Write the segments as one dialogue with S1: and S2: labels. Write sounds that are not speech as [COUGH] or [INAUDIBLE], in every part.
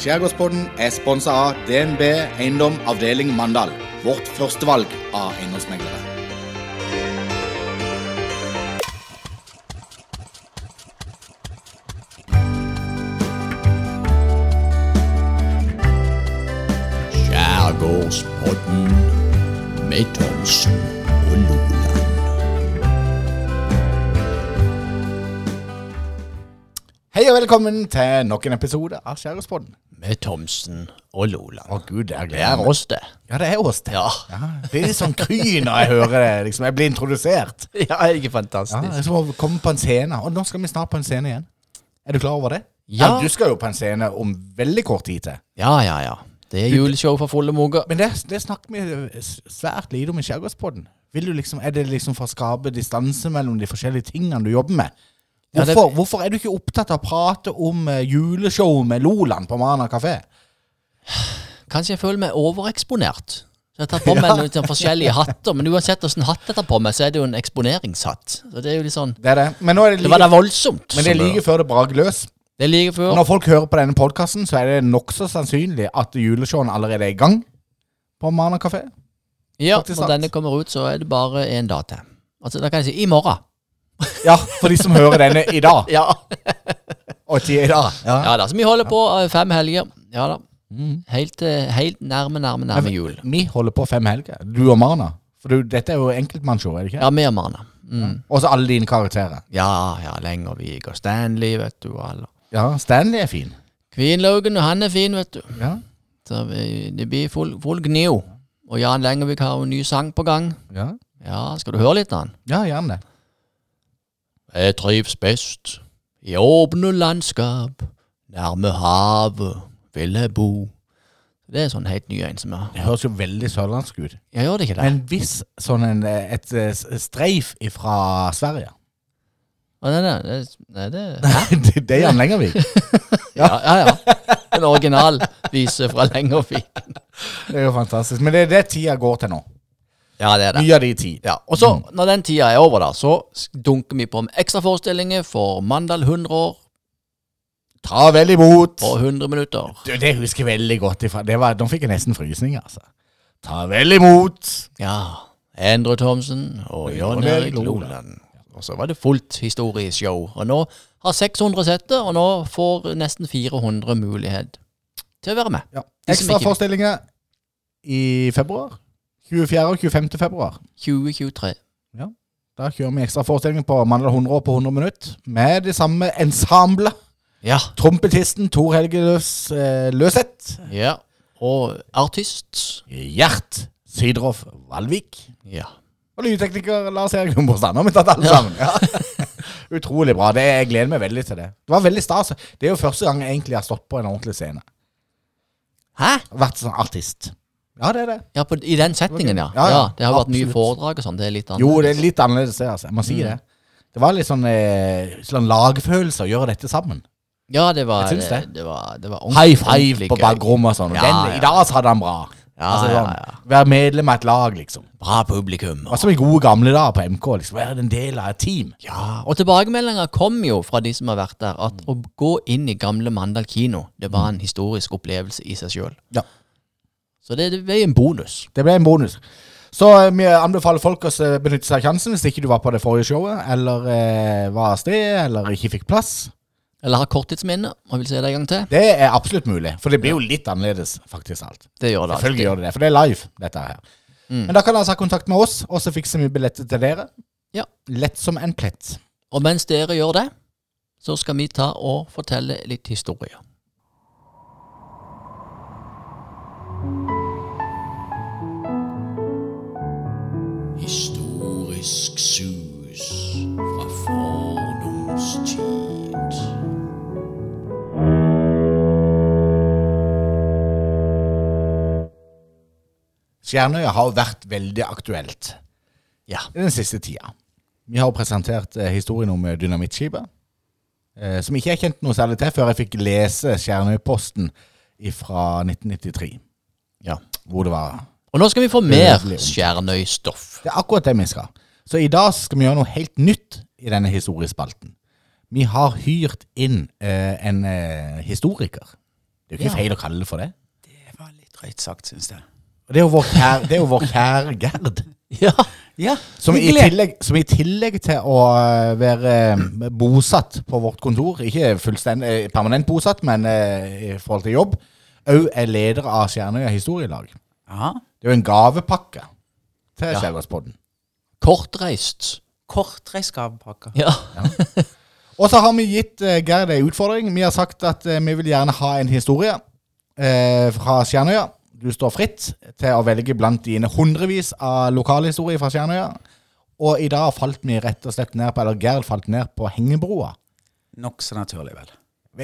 S1: Skjærgårdspodden er sponsa av DNB Eiendom avdeling Mandal. Vårt førstevalg av eiendomsmeglere. Skjærgårdspodden med Thomsen og Loland. Hei og velkommen til nok en episode av Skjærgårdspodden.
S2: med Thomsen og Loland.
S1: Å gud, jeg
S2: Det er
S1: gleder meg.
S2: oss, det.
S1: Ja, det er oss, det.
S2: Ja.
S1: Ja, det blir litt sånn kry når jeg hører det. Liksom. Jeg blir introdusert.
S2: ja, jeg er
S1: Ja, det
S2: fantastisk.
S1: er som å komme på en scene. Og nå skal vi snart på en scene igjen. Er du klar over det?
S2: Ja.
S1: Du skal jo på en scene om veldig kort tid til.
S2: Ja, ja, ja. Det er juleshow for fulle moger.
S1: Men det, det snakker vi eh, s- svært lite om i Skjærgårdspodden. Vil du liksom, er det liksom for å skape distanse mellom de forskjellige tingene du jobber med?
S2: Ja, det-
S1: Hvorfor, hvorfor er du ikke opptatt av å prate om eh, juleshow med Loland på Mana kafé?
S2: Kanskje jeg føler meg overeksponert. Så jeg har tatt på meg noen sånne forskjellige hatter, men uansett hvordan hatt jeg tar på meg, så er det jo en eksponeringshatt. Så det er jo litt sånn
S1: Det er det. Men nå er det
S2: Det var
S1: like,
S2: da voldsomt.
S1: men det er
S2: som
S1: like før det braker løs.
S2: Det er like
S1: Og
S2: før.
S1: Når folk hører på denne podkasten, så er det nokså sannsynlig at juleshowen allerede er i gang på Mana kafé.
S2: Ja,
S1: faktisk sant.
S2: når denne kommer ut, så er det bare én dag til. Altså, da kan jeg si i morgen.
S1: Ja, for de som hører denne i dag.
S2: Ja.
S1: Og tida i dag. Ja.
S2: ja da. Så vi holder på eh, fem helger. Ja da.
S1: Mm.
S2: Helt, eh, helt nærme, nærme, nærme jul.
S1: Vi holder på fem helger, du og Marna. For du, dette er jo enkeltmannsshow, er det ikke?
S2: Ja, vi og Marna. Mm.
S1: Og så alle dine karakterer.
S2: Ja, ja, Lengervik og Stanley, vet du, og alle.
S1: Ja, Stanley er fin.
S2: Kvinlaugen, og han er fin, vet du.
S1: Ja,
S2: Så vi, det blir full, full gnio. Og Jan Lengervik har jo en ny sang på gang.
S1: ja.
S2: Ja, skal du høre litt av han?
S1: ja gjerne det.
S2: Jeg trives best i åpne landskap. Nærme havet vil jeg bo. Det er sånn helt ny en som er
S1: Det høres jo veldig sørlandsk ut.
S2: Jeg gjør det ikke det.
S1: Men hvis sånn en, eh, et eh, s- streif fra Sverige
S2: Å, Nei, nei, det, nei, det
S1: [LAUGHS] det, det er Jan Lengervik.
S2: Ja, ja. ja. En original vise fra Lengervik.
S1: Det er jo fantastisk. Men det er det tida går til nå.
S2: Ja, det er det.
S1: Mye av det i tid.
S2: Ja, og så Når den tida er over, da, så s- dunker vi på med ekstraforestillinger for Mandal 100 år
S1: Ta vel imot!
S2: på 100 minutter.
S1: Du, det husker jeg veldig godt ifra. Det var, nå fikk jeg nesten frysninger, altså. Ta vel imot!
S2: Ja. Endre Thomsen og Jan Erik Loland. Og så var det fullt historieshow. Og nå har 600 sett det, og nå får nesten 400 mulighet til å være med.
S1: Ja.
S2: De som ikke-
S1: Ekstraforestillinger i februar. 24. og 25. februar.
S2: 2023.
S1: Da kjører vi ekstraforestillinger på mandag 100 år på 100 minutter. Med det samme ensemblet.
S2: Ja.
S1: Trompetisten Tor Helge Løs, eh, Løseth.
S2: ja. Og artist.
S1: Gjert Sydroff Valvik.
S2: Ja.
S1: Og lydtekniker Lars Erik Humborstad. Nå har vi tatt alle
S2: Ja.
S1: sammen. Ja. [LAUGHS] Utrolig bra. Det, jeg gleder meg veldig til det. Det var veldig stas. Det er jo første gang jeg egentlig har stått på en ordentlig scene.
S2: Hæ?
S1: Vært sånn artist. Ja, det er det.
S2: Ja, på, I den settingen, ja.
S1: Ja, ja,
S2: ja det har vært mye
S1: absolutt.
S2: foredrag og sånn. Det er litt annet.
S1: Jo, det er litt annerledes det, altså. Jeg må si det. Det var litt sånn, eh, sånn lagfølelse å gjøre dette sammen.
S2: Ja, det var,
S1: Jeg syns
S2: det,
S1: det.
S2: det var, det var
S1: High
S2: ordentlig
S1: five på
S2: gøy.
S1: bakrommet og sånn. Og
S2: liksom. Ja,
S1: den,
S2: ja.
S1: I dag så hadde han bra.
S2: Ja,
S1: altså,
S2: ja,
S1: sånn, Være medlem av et lag, liksom.
S2: Bra publikum.
S1: Det var som i gode gamle dager på MK. liksom. Være en del av et team.
S2: Ja, og tilbakemeldinger kom jo fra de som har vært der, at å gå inn i gamle Mandal kino, det var en historisk opplevelse i seg sjøl.
S1: Mm. Ja.
S2: Så det, det ble en bonus.
S1: Det ble en bonus. Så eh, vi anbefaler folk å eh, benytte seg av sjansen hvis ikke du var på det forrige showet, eller eh, var av sted, eller ikke fikk plass.
S2: Eller har korttidsminne, og vil se det en gang til.
S1: Det er absolutt mulig, for det blir jo litt annerledes, faktisk, alt.
S2: Det gjør det. Mm.
S1: Selvfølgelig gjør det det, for det er live, dette her. Men da kan dere altså ha kontakt med oss, og så fikser vi billetter til dere.
S2: Ja.
S1: Lett som en plett.
S2: Og mens dere gjør det, så skal vi ta og fortelle litt historie. Historisk sus fra fordomstid.
S1: Stjernøya har vært veldig aktuelt
S2: Ja.
S1: i den siste tida. Vi har jo presentert eh, historien om eh, dynamittskipet, eh, som ikke jeg kjente noe særlig til før jeg fikk lese Stjernøyposten fra 1993,
S2: ja.
S1: hvor det var
S2: Og nå skal vi få mer
S1: Ødelig.
S2: Skjernøy-stoff.
S1: Det er akkurat det vi skal. Så i dag skal vi gjøre noe helt nytt i denne historiespalten. Vi har hyrt inn eh, en eh, historiker Det er jo ikke feil å kalle det for det.
S3: Det var litt drøyt sagt, syns jeg.
S1: Og det er jo vår kjære, det er jo vår kjære Gerd.
S2: Ja.
S3: Ja,
S1: Som i,
S3: hyggelig.
S1: tillegg, som i tillegg til å eh, være eh, bosatt på vårt kontor, ikke fullstendig eh, permanent bosatt, men eh, i forhold til jobb, òg er leder av Stjernøya historielag.
S3: Ja,
S1: Det er jo en gavepakke til
S2: Ja.
S1: Skjærgårdspodden.
S2: Kortreist.
S3: Kortreist gavepakke.
S2: Ja.
S1: Og så har vi gitt eh, Gerd ei utfordring. Vi har sagt at eh, vi vil gjerne ha en historie eh, fra Stjernøya. Du står fritt til å velge blant dine hundrevis av lokalhistorier fra Stjernøya. Og i dag falt vi rett og slett ned på, eller Gerd falt ned på hengebroa.
S3: Nokså naturlig, vel.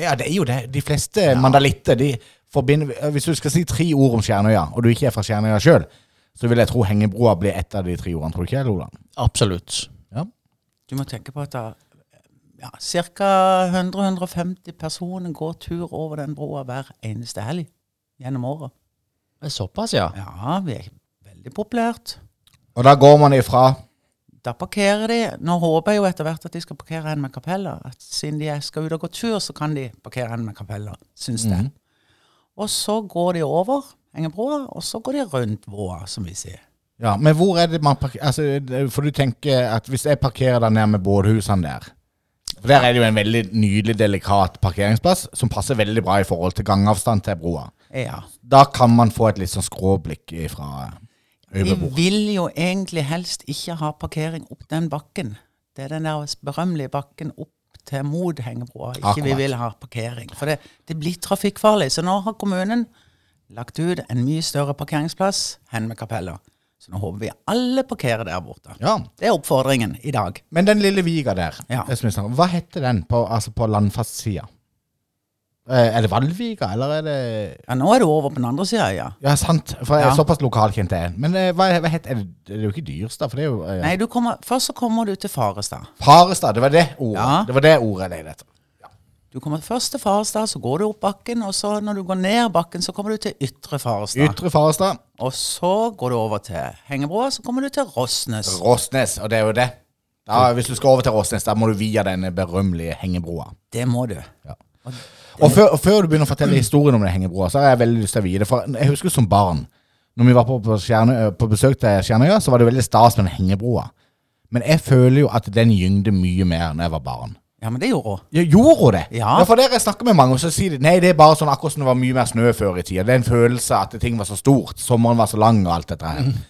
S1: Ja, det er jo det. De fleste mandalitter de forbinder Hvis du skal si tre ord om Stjernøya, og du ikke er fra Stjernøya sjøl, så vil jeg tro hengebroa blir ett av de tre ordene. Tror du ikke det, Loland?
S2: Absolutt.
S1: Ja.
S3: Du må tenke på at da, ja, ca. 100-150 personer går tur over den broa hver eneste helg gjennom året.
S2: Det er Såpass, ja.
S3: Ja, vi er veldig populært.
S1: Og da går man ifra
S3: Da parkerer de. Nå håper jeg jo etter hvert at de skal parkere en med kapella. At siden de er- skal ut og gå tur, så kan de parkere en med kapella, syns jeg. Og så går de over Engebroa, og så går de rundt broa, som vi sier.
S1: Ja, men hvor er det man parkerer altså, det- For du tenker at hvis jeg parkerer der nede med bårhusene der For der er det jo en veldig nydelig, delikat parkeringsplass som passer veldig bra i forhold til gangavstand til broa.
S3: Ja.
S1: Da kan man få et litt sånn skråblikk ifra
S3: De
S1: overbord.
S3: vil jo egentlig helst ikke ha parkering opp den bakken. Det er den der berømmelige bakken opp til mot Hengebroa. Ikke vi
S1: Akkurat.
S3: vil ha parkering. For det, det blir trafikkfarlig. Så nå har kommunen lagt ut en mye større parkeringsplass hen med kapella. Så nå håper vi alle parkerer der borte.
S1: Ja.
S3: Det er oppfordringen i dag.
S1: Men den lille viga der, eh,
S3: Ja.
S1: jeg synes, hva heter den på, altså på landfastsida? Eh, Er det Valviga, eller er det
S3: Ja, nå er det over på den andre sida, ja.
S1: Ja, sant, for jeg er
S3: Ja.
S1: såpass lokalkjent jeg er. Men eh, hva, hva heter er det? Det er jo ikke Dyrstad, for det er jo eh,
S3: Nei, du kommer, først så kommer du til Farestad.
S1: Farestad, det var det ordet.
S3: Ja.
S1: Det var det ordet jeg lette etter.
S3: Du kommer først til Farestad, så går du opp bakken, og så når du går ned bakken, så kommer du til Ytre Farestad.
S1: Ytre Farestad,
S3: Og så går du over til Hengebroa, så kommer du til Rosnes.
S1: Råsnes, og det er jo det. Da, hvis du skal over til Råsnes, da må du via denne berømmelige hengebroa.
S3: Det må du.
S1: Og før, og før du begynner å fortelle historien om den hengebroa, så har jeg veldig lyst til å vite det. For jeg husker som barn, når vi var på, på, Stjernø- på besøk til Stjernøya, så var det veldig stas med den hengebroa. Men jeg føler jo at den gyngde mye mer når jeg var barn.
S3: Ja, men det gjorde hun.
S1: Ja, Gjorde hun det?
S3: Ja.
S1: For dere snakker med mange, og så sier de nei, det er bare sånn akkurat som det var mye mer snø før i tida. Det er en følelse at ting var så stort. Sommeren var så lang, og alt dette
S3: Mm.
S1: her.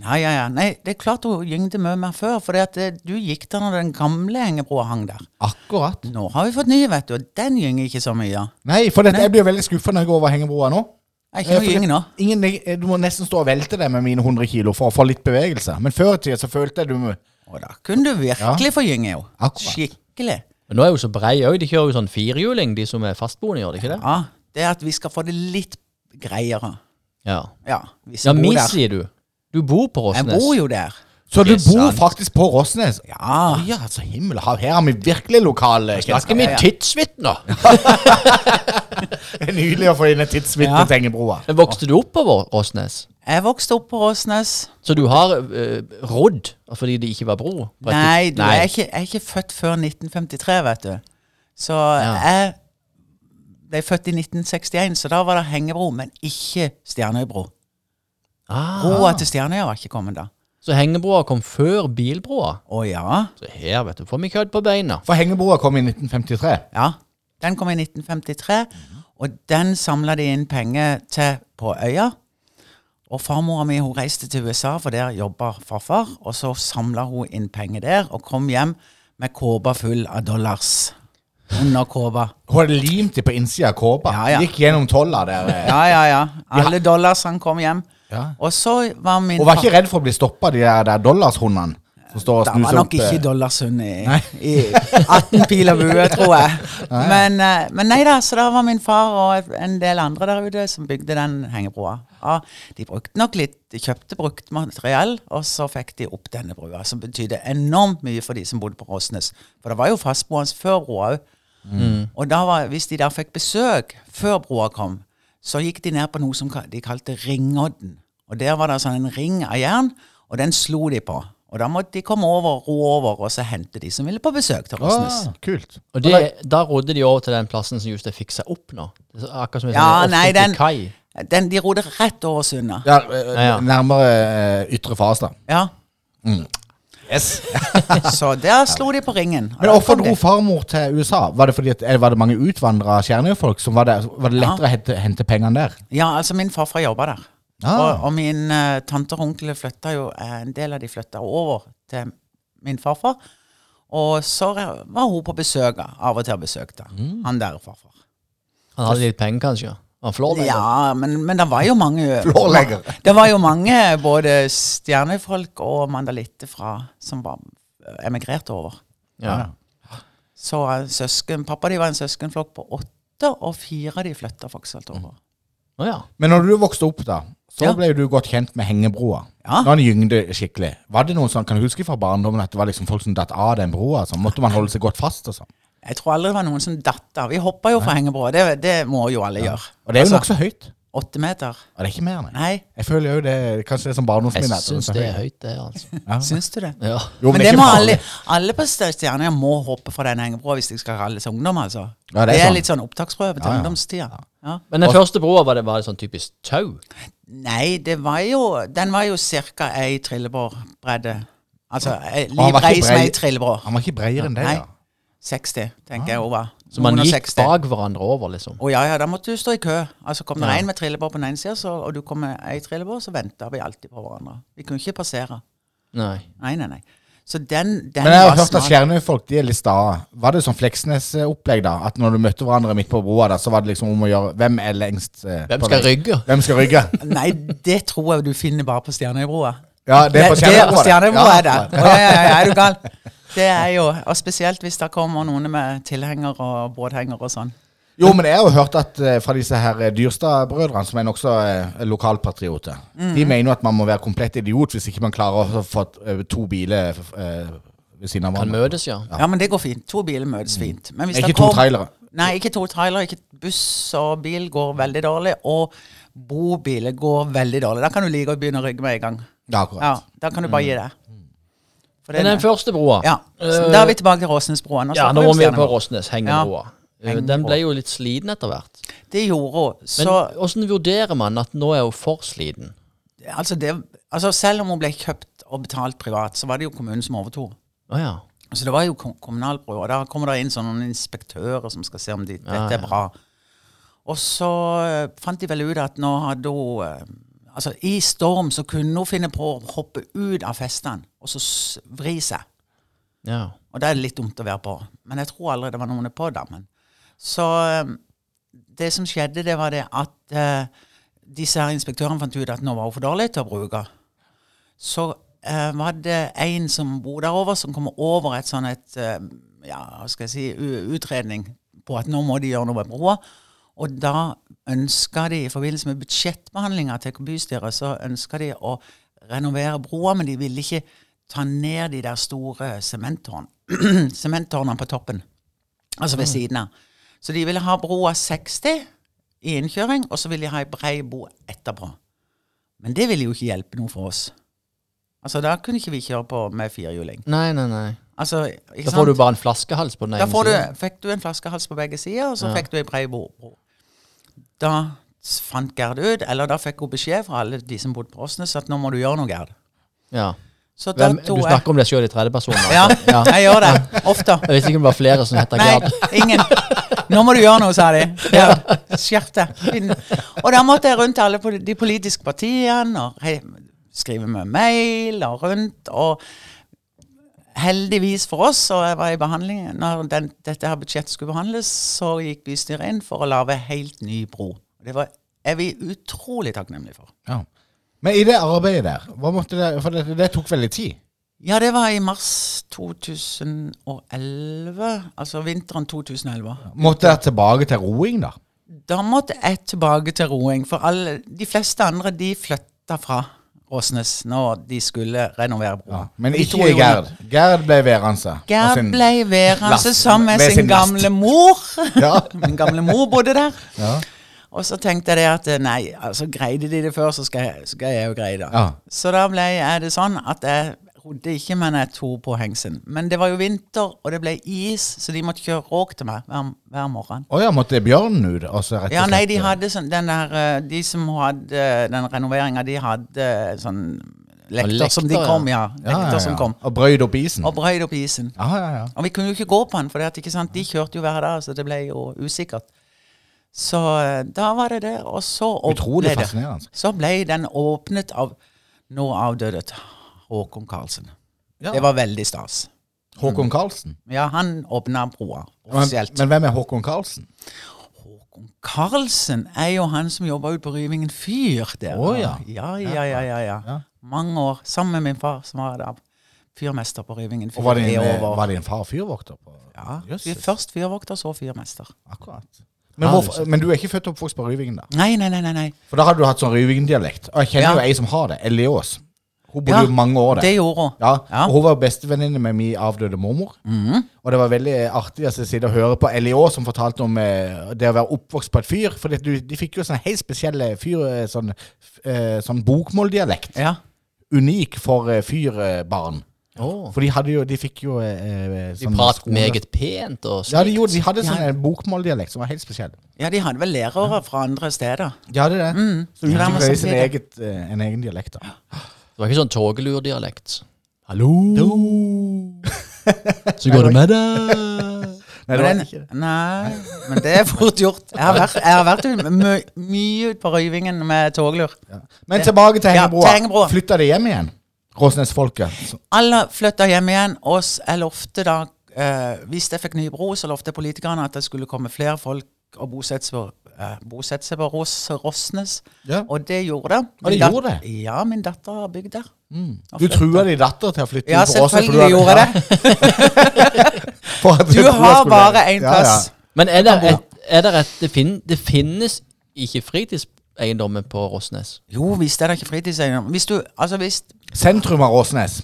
S3: Nei, ja, ja. Nei, det er klart hun gyngde mye mer før, for du gikk der når den gamle Hengebroa hang der.
S1: Akkurat.
S3: Nå har vi fått ny, vet du, og den gynger ikke så mye.
S1: Nei, for dette, jeg blir veldig skuffa når jeg går over hengebroa nå.
S3: Det er ikke
S1: Eh,
S3: noe
S1: fordi-
S3: gyng nå.
S1: Ingen, eh, du må nesten stå og velte deg med mine 100 kilo for å få litt bevegelse. Men før i tida så følte jeg du må-
S3: Og da kunne du virkelig få gynge, jo.
S1: Akkurat.
S3: Skikkelig.
S2: Men nå er jo så brei òg. De kjører jo sånn firhjuling, de som er fastboende, gjør de ikke det?
S3: Ja, det er at vi skal få det litt greiere.
S2: Ja.
S3: Ja, vi
S2: Ja,
S3: som
S2: mi,
S3: bor der.
S2: sier du. Du bor på
S3: Jeg
S2: Råsnes.
S3: bor jo der.
S1: Så du
S2: Det er
S1: bor
S2: sant.
S1: faktisk på Råsnes?
S3: Ja.
S1: Å ja, altså himmel og hav. Her har vi virkelig lokale
S2: Snakker
S1: kjennskap.
S2: vi
S3: Ja,
S1: [LAUGHS]
S2: [LAUGHS]
S3: ja.
S2: tidsvitner?
S1: Det er Nydelig å få inn en tidsvitne
S3: Ja.
S1: til Engebroa.
S2: Vokste du opp på Vå- Råsnes?
S3: Jeg vokste opp på Råsnes.
S2: Så du har eh, rodd fordi det ikke var bro? på et
S3: Nei,
S2: tids-
S3: du Er, ikke, jeg er ikke født før 1953, vet du. Så jeg ble født i 1961, så da var det hengebro, men ikke Stjernøybro.
S2: Ah,
S3: Broa til Stjernøya var ikke kommet da.
S2: så hengebroa kom før bilbroa?
S3: Å ja.
S2: Så her, vet du, får vi kødd på beina.
S1: For Hengebroa kom i 1953.
S3: ja. Den kom i 1953, og den samla de inn penger til på øya. Og farmora mi hun reiste til USA, for der jobba farfar. Og så samla hun inn penger der, og kom hjem med kåpa full av dollars. Under kåpa.
S1: Hun hadde limt dem på innsida av kåpa.
S3: Ja, ja.
S1: Gikk gjennom tolla der. eh.
S3: Ja, ja, ja. Alle dollarsene kom hjem.
S1: Ja.
S3: Og så var min
S1: Hun var
S3: far-
S1: ikke redd for å bli stoppa, de der, der dollarshundene som står og
S3: Det var
S1: snuser opp.
S3: nok ikke
S1: eh,
S3: dollarshund i, i 18 pil av bue, tror jeg. Men, eh, men nei da, så da var min far og en del andre der ute som bygde den hengebroa. Ja, de brukte nok litt, de kjøpte brukt materiell, og så fikk de opp denne brua, som betydde enormt mye for de som bodde på Råsnes. For det var jo fastboende før broa òg. Og da var, hvis de der fikk besøk før broa kom, så gikk de ned på noe som ka- de kalte ringodden. Og der var det sånn en ring av jern, og den slo de på. Og da måtte de komme over, ro over, og så hente de som ville på besøk til Rosnes.
S1: Ah, kult.
S2: Og det, da rodde de over til den plassen som just er fiksa opp nå. Det er Akkurat som en
S3: Ja,
S2: sånn
S3: nei,
S2: offentlig
S3: den-
S2: kai.
S1: Ah.
S3: Den, de rodde rett over sundet.
S1: Ja, eh,
S2: Ja, ja.
S1: Nærmere eh, ytre fas, da.
S3: Ja.
S1: Mm.
S3: [LAUGHS] så der slo de på ringen. Og
S1: Men
S3: da
S1: hvorfor
S3: kom
S1: dro
S3: de.
S1: farmor til USA? Var det, fordi at, eller var det mange utvandra Stjernøy-folk? som Var det, var det lettere å hente, hente pengene der?
S3: Ja, altså min farfar jobba der.
S1: Ah.
S3: Og, og min eh, tante og onkel flytta jo eh, En del av de flytta over til min farfar. Og så re- var hun på besøk av og til og besøkte han der farfar.
S2: Han hadde litt penger, kanskje. Han flår ja.
S3: Ja, men, men det var jo mange
S1: Flårlegger.
S3: [LAUGHS] Det var jo mange både stjernefolk og mandalitter fra som var eh, emigrerte over.
S2: ja.
S3: Så eh, søsken, pappa de var en søskenflokk på åtte, og fire av de flytta faktisk alt over.
S2: Å ja.
S1: Men når du vokste opp, da, så
S3: Ja.
S1: ble du godt kjent med hengebroa.
S3: Ja.
S1: Når han gyngde skikkelig. Var det noen sånn, Kan du huske fra barndommen at det var liksom folk som datt av den broa? Sånn? Måtte man holde seg godt fast og sånn?
S3: Jeg tror aldri det var noen som datt av. Vi hoppa jo fra hengebroa, det, det må jo alle gjøre.
S1: Og det er jo
S3: Altså,
S1: nokså høyt.
S3: Åtte meter?
S1: Og det er ikke mer, nei.
S3: Nei,
S1: Jeg føler jo det Kanskje det er som
S2: Jeg
S1: barndomsminne. at
S2: syns
S1: er så
S2: det
S1: høyt.
S2: er høyt, det, [LAUGHS] altså.
S3: syns du det?
S2: Ja.
S1: Jo,
S3: men det
S1: er
S3: må
S1: ikke
S3: alle,
S1: farlig.
S3: alle på Stø- Stjerneøya må hoppe fra den hengebroa hvis de skal kalles ungdom, altså.
S1: Ja, det er
S3: det er
S1: sant.
S3: litt sånn opptaksprøve til
S1: Ja, ja.
S3: ungdomstida. Ja.
S2: Men den første broa, var det bare sånn typisk tau?
S3: Nei, det var jo Den var jo ca. ei trillebårbredde. Altså ei-
S1: var
S3: liv
S1: ikke
S3: brei som
S1: brei-
S3: ei trillebår.
S1: Han var ikke bredere enn det,
S3: Nei.
S1: ja. Ah.
S3: 60, tenker jeg hun var.
S2: Så man
S3: Noen og
S2: gikk
S3: 60.
S2: bak hverandre over, liksom?
S3: Å ja, ja, da måtte du stå i kø. Altså Kom det
S2: Ja.
S3: en med trillebår på den ene sida, og du kom med ei trillebår, så venta vi alltid på hverandre. Vi kunne ikke passere.
S2: Nei.
S3: Nei, nei, nei. Så den,
S1: Men jeg
S3: den
S1: har
S3: var
S1: hørt at
S3: smart.
S1: Stjernøy-folk de er litt sta. Var det sånn Fleksnes-opplegg, da? At når du møtte hverandre midt på broa, da, så var det liksom om å gjøre Hvem er lengst eh,
S2: Hvem
S1: på
S2: skal
S1: vei?
S2: rygge?
S1: Hvem skal rygge?
S3: Nei, det tror jeg du finner bare på Stjernøybroa.
S1: Ja, det er på Stjernøybroa.
S3: Stjernøybroa er det.
S1: Ja.
S3: Å, ja, ja, ja, er du gal? Det er jo, og Spesielt hvis det kommer noen med tilhenger og båthenger og sånn.
S1: Jo, men jeg har jo hørt at eh, fra disse her eh, Dyrstad-brødrene, som er nokså eh, lokalpatrioter
S3: Mm.
S1: De mener jo at man må være komplett idiot hvis ikke man klarer å få eh, to biler eh, ved siden av
S2: Kan
S1: hverandre.
S2: møtes, ja.
S3: Ja, men det går fint. To biler møtes fint. Men hvis
S1: Ikke
S3: det
S1: to
S3: kom-
S1: trailere.
S3: Nei, ikke to trailere. Ikke buss og bil går veldig dårlig. Og bobiler går veldig dårlig. Da kan du like å begynne å rygge med en gang.
S1: Ja, akkurat.
S3: Ja, Da kan du bare gi deg. For det
S2: Men den første broa
S3: ja. Så da er vi tilbake til altså. Råsnesbroa. Nå
S2: Ja,
S3: snakker
S2: nå
S3: om
S2: må vi på
S3: Stjernøybroa.
S2: Rosnes, hengebroa.
S3: Ja,
S2: Eh, Den
S3: hengebroa.
S2: ble jo litt sliten etter hvert.
S3: Det gjorde hun.
S2: Men
S3: Så
S2: hvordan vurderer man at nå er hun for sliten?
S3: Altså, det, altså selv om hun ble kjøpt og betalt privat, så var det jo kommunen som overtok.
S2: Å ja.
S3: Så det var jo kom kommunalbrua. Da kommer det inn sånne noen inspektører som skal se om de, dette er bra. Og så eh, fant de vel ut at nå hadde hun eh, Altså, i storm så kunne hun finne på å hoppe ut av festene og så s- vri seg.
S2: ja.
S3: Og da er det litt dumt å være på. Men jeg tror aldri det var noen på dammen. Så eh, det som skjedde, det var det at eh, disse her inspektørene fant ut at nå var hun for dårlig til å bruke. Så eh, var det en som bor der over, som kom over et sånn et eh, Ja, hva skal jeg si u- Utredning på at nå må de gjøre noe med broa. Og da ønska de, i forbindelse med budsjettbehandlinga til bystyret, så ønska de å renovere broa, men de ville ikke ta ned de der store sementtårn- [CLEARS THROAT] sementtårnene på toppen. Altså ved siden av. Så de ville ha broa 60 i innkjøring, og så ville de ha ei brei bo etterpå. Men det ville jo ikke hjelpe noe for oss. Altså, Da kunne ikke vi kjøre på med firehjuling.
S2: Nei, nei, nei.
S3: Altså, ikke
S2: Da
S3: sant?
S2: får du bare en flaskehals på den
S3: da
S2: ene
S3: får du,
S2: siden.
S3: fikk du en flaskehals på begge sider, og så
S2: Ja.
S3: fikk du ei brei bo. Da s- fant Gerd ut, eller da fikk hun beskjed fra alle de som bodde på Åsnes, at nå må du gjøre noe, Gerd.
S2: Ja.
S3: Så da
S2: Hvem,
S3: tok
S2: du snakker om deg sjøl i tredjeperson? altså.
S3: Ja,
S2: Ja.
S3: jeg gjør det. Ofte.
S2: Jeg visste ikke om det var flere som heter
S3: Nei,
S2: Gerd.
S3: ingen. Nå må du gjøre noe, sa de. Ja, Skjerp deg. Finn. Og da måtte jeg rundt til alle poli- de politiske partiene og hei, skrive med mail og rundt. Og heldigvis for oss, og jeg var i behandling når den, dette her budsjettet skulle behandles, så gikk bystyret inn for å lage helt ny bro. Det var, er vi utrolig takknemlige for.
S1: Ja. Men i det arbeidet der, hva måtte det, for det, det tok veldig tid.
S3: Ja, det var i mars 2011. Altså vinteren 2011.
S1: Måtte dere tilbake til roing, da?
S3: Da måtte jeg tilbake til roing, for alle, de fleste andre de flytta fra Åsnes når de skulle renovere broa.
S1: Ja. Men
S3: De to
S1: ikke i
S3: gjorde-
S1: Gerd. Gerd ble værende. og
S3: Gerd
S1: sin-
S3: ble værende
S1: last-
S3: sammen med
S1: ved
S3: sin
S1: sin last.
S3: gamle mor.
S1: [LAUGHS] Ja.
S3: [LAUGHS] Min gamle mor bodde der.
S1: Ja.
S3: Og så tenkte jeg det at eh, nei, altså greide de det før, så skal jeg, skal jeg jo greie det.
S1: Ja.
S3: Så da ble jeg, er det sånn at jeg rodde ikke, men jeg tok på hengsen. Men det var jo vinter, og det ble is, så de måtte kjøre råk til meg hver, hver morgen.
S1: Å ja, måtte bjørnen ut? Altså, rett og
S3: Ja, nei, de
S1: slett.
S3: hadde sånn den der eh, De som hadde eh, den renoveringa, de hadde sånn lekter,
S2: lekter,
S3: som de kom, ja.
S1: Ja, ja,
S3: Lekter
S1: ja.
S3: som kom.
S1: Og brøyd opp isen?
S3: Og brøyd opp isen.
S1: Ja, ja, ja.
S3: Og vi kunne jo ikke gå på den, for det at, ikke sant? de kjørte jo hver dag, så det ble jo usikkert. Så eh, da var det det. Og så opp-
S1: Utrolig
S3: ble det.
S1: fascinerende. altså.
S3: Så ble den åpnet av nå avdøde Håkon Karlsen.
S1: Ja.
S3: Det var veldig stas.
S1: Håkon Karlsen?
S3: Ja, han åpna broa
S1: Men,
S3: Mm. offisielt.
S1: men hvem er Håkon Karlsen?
S3: Håkon Karlsen er jo han som jobba ute på Ryvingen fyr der.
S1: Å, ja.
S3: Ja, ja, ja, ja, ja.
S1: Ja.
S3: Mange år. Sammen med min far, som var da fyrmester på Ryvingen fyr.
S1: Og var det
S3: i
S1: en, eh,
S3: over-
S1: var det en far fyrvokter? På?
S3: Ja,
S1: Jøsses,
S3: Først fyrvokter, så fyrmester.
S1: akkurat. Men, hvorfor, men du er ikke født og oppvokst på Ryvingen, da?
S3: Nei, nei, nei. nei, nei.
S1: For da hadde du hatt sånn Ryvingen-dialekt. Og jeg kjenner
S3: Ja.
S1: jo ei som har det. Ellie Aas. Hun bodde
S3: Ja,
S1: jo mange år der.
S3: Det gjorde hun.
S1: Ja,
S3: Ja.
S1: og Hun var bestevenninne med min avdøde mormor. Og det var veldig eh, artig å sitte og høre på L.I.Å. som fortalte om eh, det å være oppvokst på et fyr. For det, du, de fikk jo sånn helt spesielle fyr, eh, sånn, eh, sånn bokmåldialekt.
S3: Ja.
S1: Unik for eh, fyrbarn.
S2: Å.
S1: For de hadde jo De fikk jo eh, eh,
S2: De
S1: sånn
S2: pratet
S1: skole-
S2: meget pent og slikt.
S1: Ja, de, gjorde, de hadde
S3: Ja.
S1: sånn en bokmåldialekt som var helt spesiell.
S3: ja, de hadde vel lærere fra andre steder. Mm.
S1: De hadde det. Så
S3: Ja, men
S1: utvikla de sin
S3: samtidig-
S1: eget, eh, en egen dialekt, da.
S2: Det var ikke sånn togelurdialekt. Hallo! Så går det med deg?
S1: Nei, det
S3: Men
S1: var
S3: den-
S1: ikke det.
S3: Nei, men det er fort gjort. Jeg har vært, jeg har vært ut- mø, mye ute på Røyvingen med toglur.
S1: Men tilbake til
S3: Ja,
S1: Hengebroa.
S3: til Hengebroa.
S1: Flytta de hjem igjen? Råsnesfolket. Så-
S3: Alle flytta hjem igjen. Og s- jeg lovte da eh, Hvis jeg fikk ny bro, så lovte politikerne at det skulle komme flere folk og bosette seg på, eh, bosette seg på Ros, Rosnes.
S1: Ja.
S3: Og det gjorde det.
S1: Og det
S3: Min dat-
S1: gjorde det?
S3: Ja, min datter har bygd
S1: [LAUGHS]
S3: der.
S1: Du trua din datter til å flytte
S3: Ja,
S1: inn på Åsen?
S3: selvfølgelig gjorde jeg
S1: [LAUGHS]
S3: det. Du har bare én plass.
S2: Men er det, et, er det, et det, fin, det finnes ikke fritidseiendommer på Rosnes?
S3: Jo, hvis det er da ikke fritidseiendom. Hvis du Altså, hvis
S1: Sentrum av Åsnes,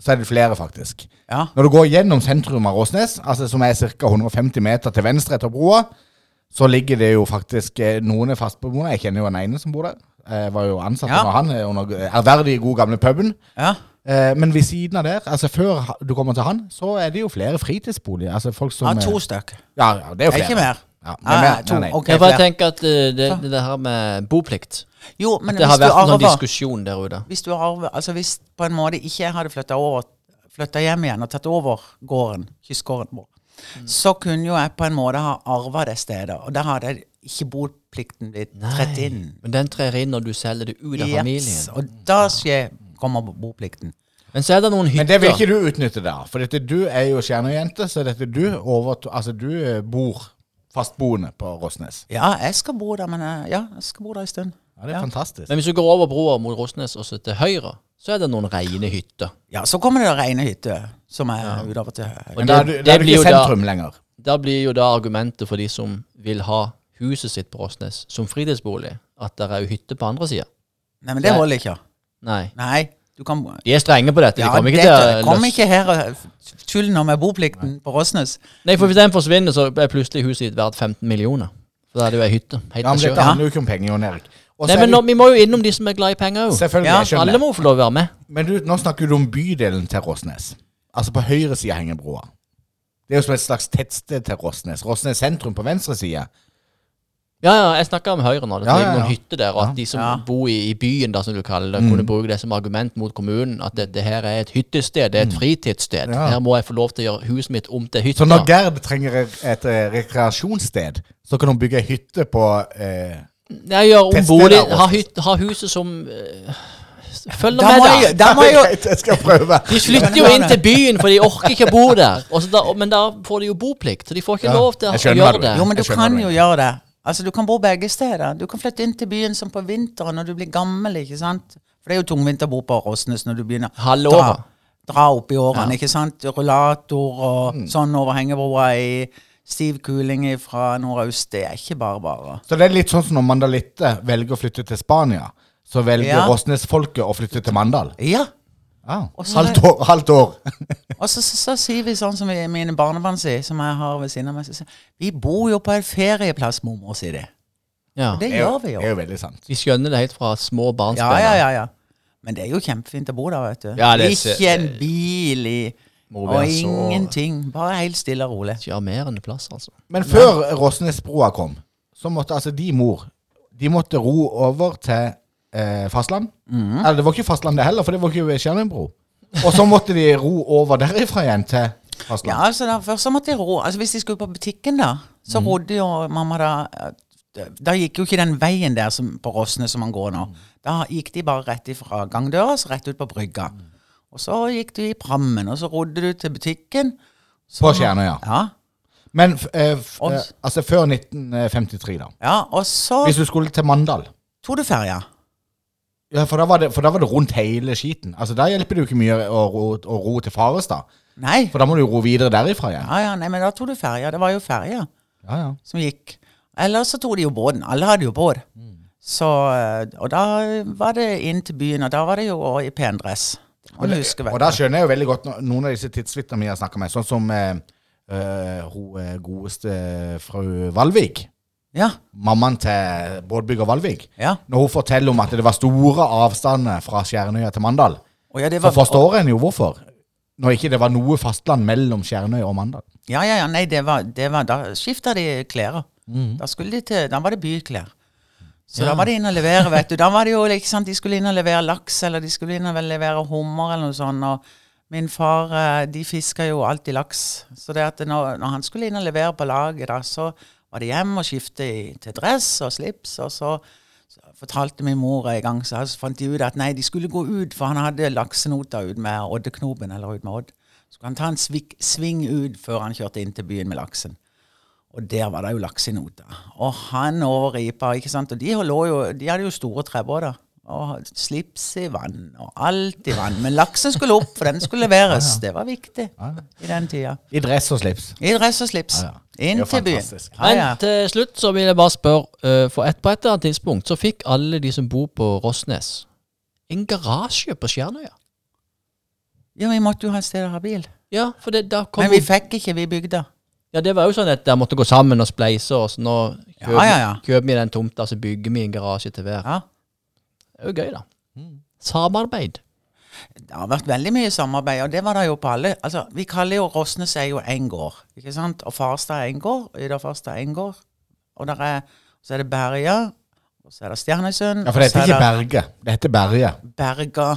S1: så er det flere, faktisk.
S3: Ja.
S1: Når du går gjennom sentrum av Åsnes, altså som er ca. 150 meter til venstre etter broa, så ligger det jo faktisk eh, noen er fastbeboende. Jeg kjenner jo en ene som bor der. Jeg var jo ansatt
S3: Ja.
S1: under han, eh, under eh, ærverdig god gamle puben.
S3: ja.
S1: Eh, Men ved siden av der, altså før ha- du kommer til han, så er det jo flere fritidsboliger. Altså folk som
S3: Ja,
S1: eh,
S3: to stykk.
S1: Ja, ja, det er jo flere.
S3: Ikke mer.
S1: Ja, men
S3: Nei,
S1: mer-
S3: nei, to.
S1: nei, nei.
S3: Ok,
S2: Jeg bare
S3: flere.
S2: tenker at eh, det, det, det her med boplikt
S3: Jo, men
S2: Det har
S3: hvis du
S2: vært en sånn
S3: arver
S2: diskusjon der ute.
S3: Hvis du arver Altså hvis på en måte ikke jeg hadde flytta over Flyttet hjem igjen og tatt over gården, kystgården vår,
S2: Mm.
S3: så kunne jo jeg på en måte ha arva det stedet. Og da hadde jeg ikke boplikten blitt trett inn.
S2: Men den trer inn når du selger det ut av
S3: Yes,
S2: familien.
S3: Og da skjer, kommer boplikten.
S2: Men så er det noen
S1: Men det vil
S2: hytter.
S1: ikke du utnytte der. For dette, du er jo stjernejente, så dette du overto... Altså, du eh, bor fastboende på Rosnes.
S3: Ja, jeg skal bo der, men jeg, ja, jeg skal bo der en stund.
S1: Ja, det er fantastisk.
S2: Men hvis du går over broa mot Rosnes og så til høyre, så er det noen reine hytter.
S3: Ja, så kommer det rene hytter, som er utover til høyre.
S2: Og
S1: Da er du,
S2: det-
S1: da er
S2: det
S1: du
S2: blir
S1: ikke i
S2: jo da-
S1: sentrum lenger.
S2: Da blir jo da argumentet for de som vil ha huset sitt på Rosnes som fritidsbolig, at det er jo hytte på andre sida.
S3: Nei, men det holder ikke.
S2: Nei.
S3: Nei, du kan
S2: De er strenge på dette. De
S3: Ja,
S2: kommer ikke
S3: dette-
S2: til å
S3: kom
S2: løs-
S3: ikke her og tull nå med boplikten på Rosnes.
S2: Nei, for hvis den forsvinner, så er plutselig huset ditt verdt 15 millioner. For da er det jo ei hytte. Helt
S1: Ja, men
S2: selv.
S1: dette handler jo ikke om penger, Jon Erik. Og så
S2: Nei,
S1: er
S2: men
S1: det-
S2: nå, vi må jo innom de som er glad i penger òg.
S1: Selvfølgelig,
S3: Ja,
S1: jeg skjønner.
S2: Alle må få lov å være med.
S1: Men du, nå snakker du om bydelen til Rosnes. Altså på høyre side av Hengebroa. Det er jo som et slags tettsted til Rosnes. Rosnes sentrum på venstre side.
S2: Ja, ja, jeg snakker om Høyre nå. Det
S1: Ja,
S2: ligger
S1: ja, ja. Mm.
S2: noen hytter der, og at de som
S3: Ja.
S2: bor i, i byen, da, som du kaller det, kunne bruke det som argument mot kommunen. At dette her er et hyttested, det er et fritidssted.
S1: Mm. Ja.
S2: Her må jeg få lov til å gjøre huset mitt om til hytte.
S1: Så når Gerd trenger et eh, rekreasjonssted, så kan hun bygge ei hytte på eh,
S2: Nei, gjør om
S1: Tettstedet
S2: bolig,
S1: er
S2: ha,
S1: rått.
S2: hyt, ha huset som eh, Følg
S3: Da
S2: med,
S3: må
S2: da.
S3: jeg, da må jeg jo
S1: Greit, [LAUGHS] jeg skal prøve.
S2: De flytter jo inn til byen, for de orker ikke å bo der. Og så da, men da får de jo boplikt, så de får ikke
S1: Ja,
S2: lov til å
S1: jeg skjønner hva
S2: gjøre
S1: du
S2: det.
S1: mener.
S3: Jo, men du
S1: Jeg skjønner
S3: kan
S1: hva du
S3: jo gjøre det. Altså, Du kan bo begge steder. Du kan flytte inn til byen som på vinteren når du blir gammel. ikke sant? For det er jo tungvint å bo på Rosnes når du begynner
S2: Halve
S3: dra,
S2: året.
S3: dra opp i årene. ikke sant? Rullator og
S1: Mm.
S3: sånn over hengebroa i stiv kuling fra nordøst. Det er ikke bare bare.
S1: Så det er litt sånn som når Mandalitte velger å flytte til Spania, så velger
S3: Ja.
S1: Rosnes-folket å flytte til Mandal.
S3: Ja.
S1: Ja.
S3: Og så-
S1: Halvt år. Halvt år.
S3: Og så, så, så sier vi sånn som vi, mine barnebarn sier, som jeg har ved siden av meg. Så, sier, vi bor jo på en ferieplass, mormor, sier de.
S2: Ja.
S3: Og det gjør vi
S1: Det
S3: jo.
S1: er jo veldig sant.
S2: De skjønner det helt fra små barns
S3: Ja, ja, ja, ja. Men det er jo kjempefint å bo der, vet du.
S2: Ja, det er se-
S3: ikke en bil i
S2: Må
S3: Og
S2: være så-
S3: ingenting. Bare helt stille og rolig.
S2: Sjarmerende plass, altså.
S1: Men før Rosnesbroa kom, så måtte altså de mor De måtte ro over til eh, fastland. Eller det var ikke fastland det heller, for det var ikke Skjermøybro. Og så måtte de ro over derifra igjen til fastland.
S3: Ja, altså da, Først så måtte jeg ro. Altså Hvis de skulle på butikken, da, så rodde jo mamma da eh, Da gikk jo ikke den veien der som, på Rosne som man går nå. Da gikk de bare rett ifra gangdøra, så rett ut på brygga. Og så gikk du i prammen, og så rodde du til butikken. Så-
S1: På Skjernøya.
S3: Ja.
S1: Men f, eh, f, eh,
S3: Oss.
S1: altså før 1953, da.
S3: ja. Og så
S1: Hvis du skulle til Mandal.
S3: tok du ferja.
S1: Ja, for, da var det, for da var det rundt hele skiten. Altså Der hjelper det jo ikke mye å ro, å ro til Farestad.
S3: Nei.
S1: For da må du jo ro videre derifra igjen.
S3: Ja, ja, nei, men da tok du ferja. Det var jo ferja.
S1: Ja, ja.
S3: som gikk. Eller så tok de jo båten. Alle hadde jo båt. Så, eh, og da var det inn til byen, og da var det jo også i pen dress. Det må du huske, vet
S1: Og da
S3: du.
S1: skjønner jeg jo veldig godt no- noen av disse tidsvitnene vi har snakka med, sånn som eh, eh, hun eh, godeste fru Valvik.
S3: Ja,
S1: Mammaen til båtbygger Valvik.
S3: ja.
S1: Når hun forteller om at det var store avstander fra Skjernøya til Mandal,
S3: Og ja, det
S1: så
S3: var,
S1: forstår en jo hvorfor. Når ikke det var noe fastland mellom Skjernøy og Mandal.
S3: Ja, ja, ja, nei, det var, det var Da skifta de klær.
S1: Mm.
S3: Da skulle de til Da var det byklær. Så da var de inne og levere, vet du. Da var det jo liksom De skulle inn og levere laks, eller de skulle inn og levere hummer, eller noe sånt. Og min far, eh, de fiska jo alltid laks. Så det at når, når han skulle inn og levere på laget, da, så var det hjem og skifte i, til dress og slips, og så så fortalte min mor en gang, så fant de ut at nei, de skulle gå ut, for han hadde laksenota ut med Oddeknoben, eller ut med Odd. Så skulle han ta en svik, sving ut før han kjørte inn til byen med laksen. Og der var det jo laksenota. Og han over ripa, ikke sant. Og de, lå jo, de hadde jo store trebåter. Og slips i vann, og alt i vann. Men laksen skulle opp, for den skulle leveres. Det var viktig i den tida.
S1: I dress og slips.
S3: I dress og slips.
S1: Ja, ja.
S3: Inn
S1: Det er jo
S3: til byen.
S1: fantastisk.
S3: Ja, ja.
S2: Men til slutt så vil jeg bare spørre, eh, for et på et eller annet tidspunkt så fikk alle de som bor på Rosnes, en garasje på Skjernøya.
S3: ja, vi måtte jo ha et sted å ha bil.
S2: Ja, for det, da kom
S3: Men vi fikk ikke, vi bygde.
S2: Ja, det var jo sånn at de måtte gå sammen og spleise, og så nå kjøper,
S3: Ja, ja, ja.
S2: kjøper vi den tomta, så bygger vi en garasje til hver.
S3: Ja.
S2: Det er jo gøy, da.
S3: Mm.
S2: Samarbeid.
S3: Det har vært veldig mye samarbeid, og det var det jo på alle. Altså, vi kaller jo Rosnes er jo én gård, ikke sant? Og Farstad er én gård, Yderfarstad er én gård. Og der er, så er det Berga, og så er det Stjernesund.
S1: Ja, For det
S3: og så
S1: heter
S3: er
S1: ikke Berge. Det heter Berge.
S3: Berga.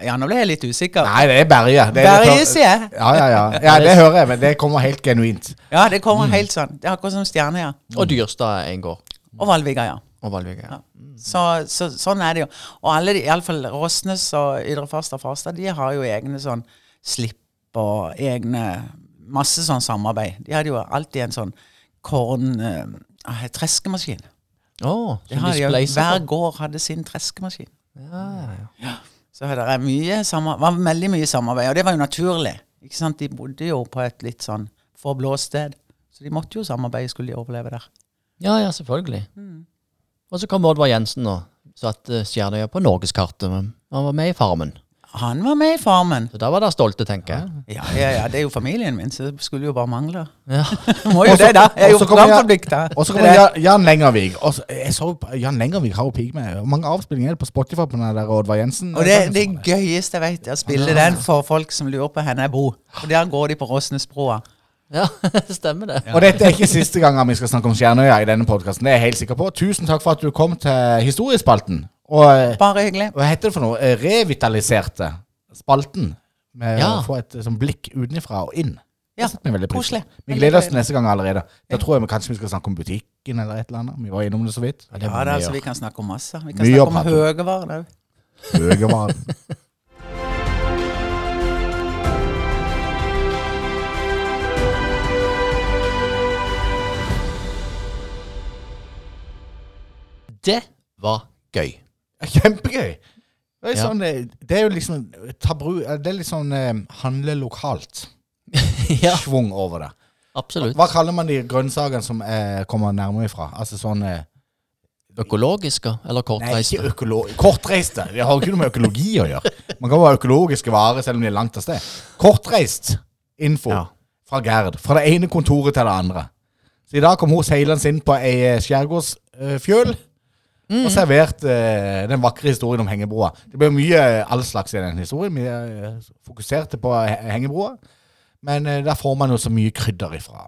S3: Ja, nå ble jeg litt usikker.
S1: Nei, det er Berge. Det er sånn-
S3: Berge, sier jeg.
S1: Ja, ja, ja. ja, det hører jeg, men det kommer helt genuint.
S3: Ja, det kommer helt sånn. Det er akkurat som Stjerneøya.
S2: Og Dyrstad er en gård.
S3: Og Valviga, ja.
S2: Og Valvika. Ja.
S3: Så, så sånn er det jo. Og alle, de- i alle fall Rosnes og Ydre Farstad og Farstad, de har jo egne sånn slipp og egne Masse sånn samarbeid. De hadde jo alltid en sånn korn... Uh, treskemaskin.
S2: Å,
S3: Det
S2: som
S3: har
S2: de
S3: de jo.
S2: spleiser
S1: sånn.
S3: Hver
S2: på.
S3: gård hadde sin treskemaskin.
S2: Ja, ja, ja.
S3: Så det er mye samar- var veldig mye samarbeid, og det var jo naturlig. Ikke sant? De bodde jo på et litt sånn forblåst sted, så de måtte jo samarbeide skulle de overleve der.
S2: ja, ja, selvfølgelig.
S1: Mm.
S2: Og så kom Oddvar Jensen og satte Stjernøya på norgeskartet. men Han var med i Farmen.
S3: Han var med i Farmen.
S2: Så da var dere stolte, tenker jeg.
S3: Ja, ja, ja, det er jo familien min, så det skulle jo bare mangle.
S2: Ja. [LAUGHS]
S3: Må jo
S1: Også-
S3: det, da. Jeg er jo
S1: også kommer jeg-
S3: programforplikta.
S1: Og så kommer Jan, Jan Lengervig. Og så, jeg så på- Jan Lengervig har jo pig med. Hvor mange avspillinger er det på Spotify på den der Oddvar Jensen? sånn.
S3: Og det er det gøyeste jeg vet, å spille den for folk som lurer på hvor jeg bor. Og der går de på Rosnesbroa.
S2: ja, [LAUGHS] stemmer det.
S1: Og dette er ikke siste gangen vi skal snakke om Stjernøya i denne podkasten. Det er jeg helt sikker på. Tusen takk for at du kom til historiespalten. Og eh,
S3: Bare hyggelig.
S1: hva heter det for noe? Eh, Revitaliserte spalten. Med
S2: Ja.
S1: å få et eh, sånn blikk utenfra og inn.
S3: Ja,
S1: Det setter vi veldig pris på.
S3: koselig.
S1: Vi gleder oss til neste gang allerede. Da tror jeg vi kanskje vi skal snakke om butikken eller et eller annet. Vi var innom det så vidt.
S2: Ja, må
S3: Ja, det er
S2: vi
S3: altså,
S2: gjøre.
S3: vi kan snakke om masse. Vi kan
S1: Mye å
S3: snakke om
S1: prate om.
S3: høgevarene òg. [LAUGHS]
S1: Høgevaren.
S2: Det var [LAUGHS] gøy.
S1: Kjempegøy! Det er,
S2: Ja.
S1: sånn, eh, det er jo liksom tabru, eh, Det er litt sånn eh, handle lokalt.
S2: ja,
S1: Schwung over det.
S2: absolutt.
S1: Hva kaller man de grønnsakene som eh, kommer nærmere ifra? Altså sånn eh,
S2: Økologiske
S1: Nei,
S2: eller
S1: ikke
S2: kortreiste?
S1: økolo kortreiste. Det har jo ikke noe med økologi å gjøre. Man kan jo ha økologiske varer selv om de er langt av sted. Kortreist info
S2: Ja.
S1: fra Gerd. Fra det ene kontoret til det andre. Så i dag kom hun seilende inn på ei eh, skjærgårdsfjøl. og servert eh, den vakre historien om hengebroa. Det ble mye eh, all slags i den historien. Vi eh, fokuserte på he- hengebroa. Men eh, der får man jo så mye krydder ifra.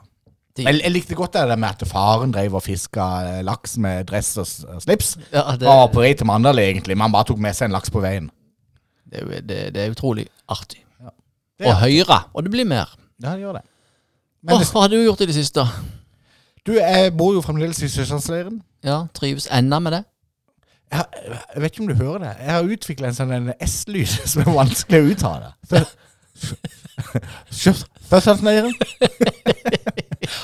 S2: De-
S1: Jeg, jeg likte godt det der med at faren drev og fiska eh, laks med dress og s- og slips.
S2: Ja, det,
S1: Han var på vei til Mandal, egentlig, men han bare tok med seg en laks på veien.
S2: det, er jo- det, det er utrolig artig.
S1: Det er
S2: Og Høyre. Og det blir mer.
S1: Ja, det gjør det. Men
S2: Åh,
S1: det,
S2: hva har du gjort i det siste?
S1: du, jeg bor jo fremdeles i Søslandsleiren.
S2: Ja, Trives ennå med
S1: [LAUGHS]
S2: det?
S1: Jeg, har- jeg vet ikke om du hører det. Jeg har utvikla en sånn en S-lyd [LAUGHS] som er vanskelig å uttale. [LAUGHS] Søslandsleiren.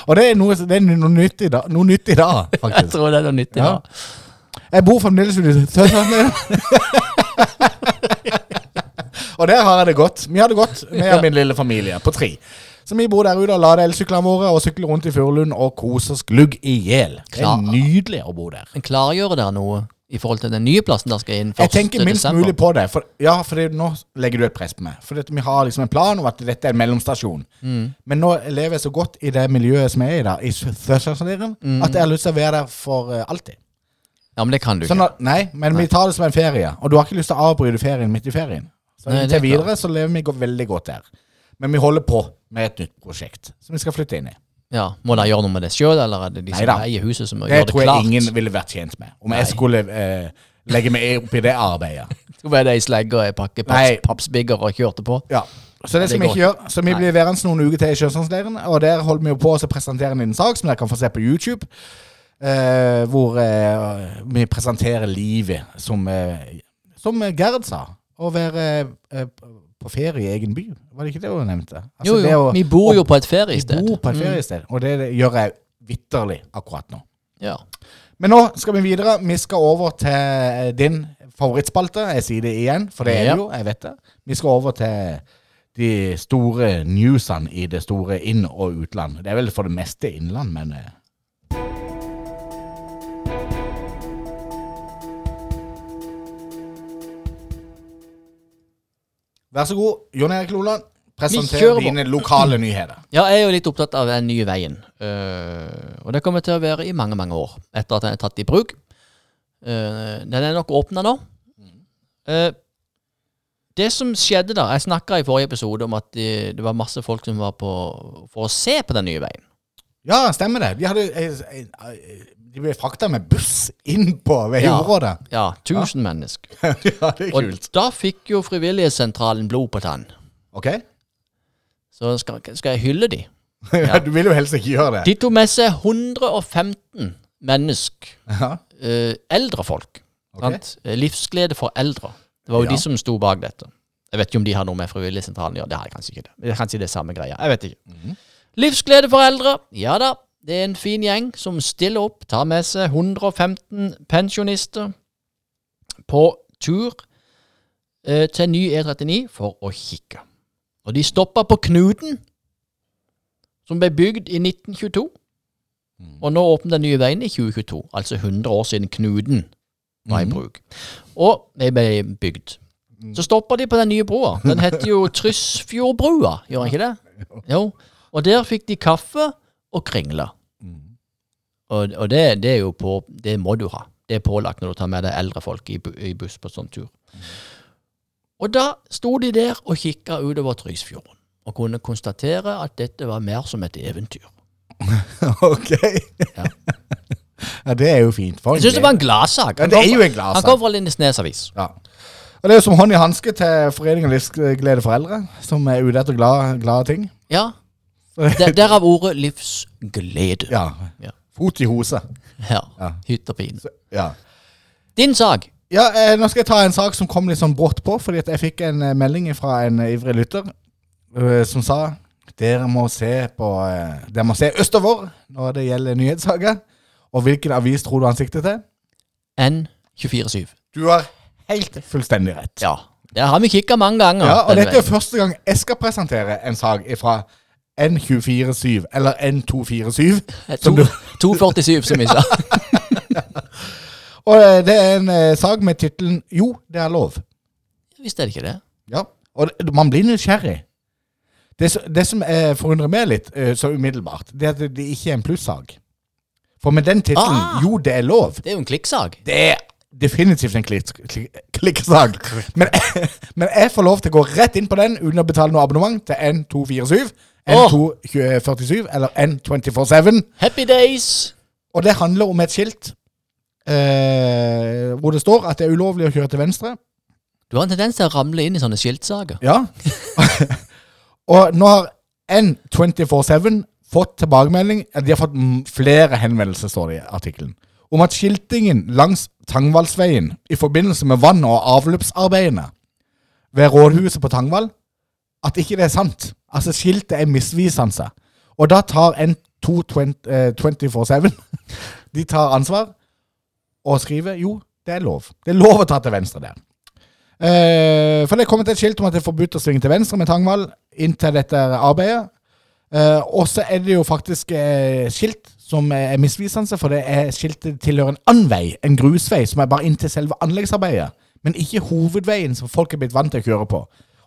S1: Og det er, noe, det er noe, nytt i dag, noe nytt i dag,
S2: Jeg
S1: faktisk.
S2: tror det er noe nyttig.
S1: Ja.
S2: Ja.
S1: Jeg bor fremdeles i Søslandsleiren. Og der har jeg det godt. Vi har det godt, vi og min lille familie på tre. Så vi bor der ute og lader elsyklene våre og sykler rundt i Furulund og koser oss glugg i hjel. Det
S2: Klar.
S1: er nydelig å bo der.
S2: Men klargjør dere noe i forhold til den nye plassen der skal inn 1.
S1: Jeg tenker minst
S2: desember?
S1: mulig på det. For, ja, for det, nå legger du et press på meg. For dette, vi har liksom en plan om at dette er en mellomstasjon. Men nå lever jeg så godt i det miljøet som jeg er i da, i Sø- Sørlandsleiren, at jeg har lyst til å være der for eh, alltid.
S2: Ja, men det kan du ikke.
S1: Sånn at, nei, men vi tar det som en ferie, og du har ikke lyst til å avbryte ferien midt i ferien. Så
S2: Nei, det er
S1: til videre så lever vi go- veldig godt der. Men vi holder på med et nytt prosjekt som vi skal flytte inn i.
S2: Ja, Må dere gjøre noe med det sjøl, eller er det de som
S1: Neida.
S2: eier huset som
S1: Det
S2: gjør det
S1: tror jeg
S2: klart?
S1: ingen ville vært tjent med, om jeg skulle eh, legge meg opp i det arbeidet.
S2: Så var det ei slegge og ei pakke
S1: Nei.
S2: paps, pappsbigger og kjørte på?
S1: Ja. Så det, skal vi
S2: går
S1: ikke gjøre. Så vi blir værende noen uker til i Sjøsandsleiren. Og der holder vi jo på å presentere en liten sak som dere kan få se på YouTube. eh, hvor eh, vi presenterer livet som eh, Som eh, Gerd sa. Å være eh, på ferie i egen by. Var det ikke det hun nevnte? Altså,
S2: jo,
S1: det
S2: jo.
S1: å-
S2: Vi bor jo
S1: å-
S2: på et Mm. feriested.
S1: Vi bor på et feriested, og det, det gjør jeg vitterlig akkurat nå.
S2: Ja.
S1: Men nå skal vi videre. Vi skal over til eh, din favorittspalte. Jeg sier det igjen, for det er
S2: Ja.
S1: det jo. Jeg vet det. Vi skal over til de store newsene i det store inn- og utland. Det er vel for det meste innland, men eh, Vær så god, Jon Erik Loland.
S2: kjører
S1: Presenter
S2: på.
S1: dine lokale nyheter.
S2: ja, jeg er jo litt opptatt av den nye veien. Eh, og det kommer til å være i mange, mange år etter at den er tatt i bruk. Eh, den er nok åpna nå. Eh, det som skjedde da Jeg snakka i forrige episode om at de, det var masse folk som var på for å se på den nye veien.
S1: Ja, stemmer det. De, hadde, eh, eh, de ble frakta med buss inn på
S2: Ja.
S1: veiområdet.
S2: Ja, 1000 mennesker.
S1: ja, [LAUGHS] det er
S2: Og da fikk jo Frivillighetssentralen blod på tann.
S1: Ok?
S2: Så skal, skal jeg hylle de.
S1: Ja. [LAUGHS] du vil jo helst ikke gjøre det.
S2: De tok med seg 115 mennesk,
S1: Ja.
S2: eh, eldre folk.
S1: Ok.
S2: sant? Eh, Livsglede for eldre. Det var
S1: Ja.
S2: jo de som sto bak dette. Jeg vet ikke om de har noe med Frivillighetssentralen å gjøre. Det har jeg kanskje ikke. det. Det er kanskje det er samme greia. Jeg vet ikke.
S1: Mhm.
S2: Livsglede for eldre. Ja da, det er en fin gjeng som stiller opp. Tar med seg 115 pensjonister på tur eh, til ny E39 for å kikke. Og de stoppa på Knuten, som ble bygd i 1922. Og nå åpner den nye veien i 2022, altså 100 år siden Knuten var i bruk. Og de ble bygd. Så stopper de på den nye broa. Den heter jo Tryssfjordbrua, gjør den ikke det? Jo. Og der fikk de kaffe og kringle. Og, og det, det er jo på Det må du ha. Det er pålagt når du tar med deg eldre folk i, bu- i buss på sånn tur. Og da sto de der og kikka utover Trygsfjorden og kunne konstatere at dette var mer som et eventyr.
S1: [LAUGHS] Ok.
S2: Ja.
S1: [LAUGHS] ja, det er jo fint. For en
S2: Jeg syns det var en gladsak.
S1: Ja,
S2: Han
S1: det er
S2: kom-
S1: jo en gladsak.
S2: Han kom fra Lindesnes avis.
S1: glede. Ja. Og det er jo som hånd i hanske til Foreningen Livsglede for eldre, som er ute etter glad- glade ting.
S2: Ja. Der- Derav ordet livsglede. Ja.
S1: Ja.
S2: Ja.
S1: Fot i hose.
S2: Hytt og pine.
S1: Ja.
S2: Din sak.
S1: Ja, eh, nå skal jeg ta en sak som kom litt sånn brått på, fordi at jeg fikk en eh, melding fra en eh, ivrig lytter eh, som sa dere må se på eh, dere må se østover når det gjelder nyhetssaker. Og hvilken avis tror du han sikter til?
S2: N247.
S1: Du har helt fullstendig rett.
S2: Ja. Der har vi kikka mange ganger.
S1: Ja, og
S2: den
S1: dette er
S2: veien.
S1: første gang jeg skal presentere en sak fra N247, eller N247. som du-
S2: Eh, [LAUGHS] To- 247, som vi sa.
S1: Og eh, det er en eh, sak med tittelen 'Jo, det er lov'.
S2: Visste jeg ikke det.
S1: Ja, og det, man blir nysgjerrig. Det, som- det som eh, forundrer meg litt eh, så umiddelbart, det er at det ikke er en plussak. For med den tittelen
S2: Ah.
S1: Jo, det er lov.
S2: Det er jo en klikksak.
S1: Det er definitivt en klikk- klikk- klikksak. Men, [LAUGHS] men jeg får lov til å gå rett inn på den uten å betale noe abonnement til N247,
S2: Åh.
S1: N247 eller N247.
S2: Happy days!
S1: Og det handler om et skilt eh, hvor det står at det er ulovlig å kjøre til venstre.
S2: Du har en tendens til å ramle inn i sånne skiltsaker.
S1: Ja. [LAUGHS] og nå har N247 fått tilbakemelding eh, De har fått mm, flere henvendelser, står det i artikkelen. Om at skiltingen langs Tangvallsveien i forbindelse med vann- og avløpsarbeidene ved rådhuset på Tangvall At ikke det er sant. Altså, skiltet er misvisende. Og da tar eh, N247 [LAUGHS] De tar ansvar og skriver jo, det er lov. Det er lov å ta til venstre der. Eh, for det er kommet et skilt om at det er forbudt å svinge til venstre med Tangvall inntil dette arbeidet. Eh, og så er det jo faktisk eh, skilt som er misvisende, for det er skiltet tilhører en annen vei, en grusvei, som er bare inntil selve anleggsarbeidet, men ikke hovedveien som folk er blitt vant til å kjøre på.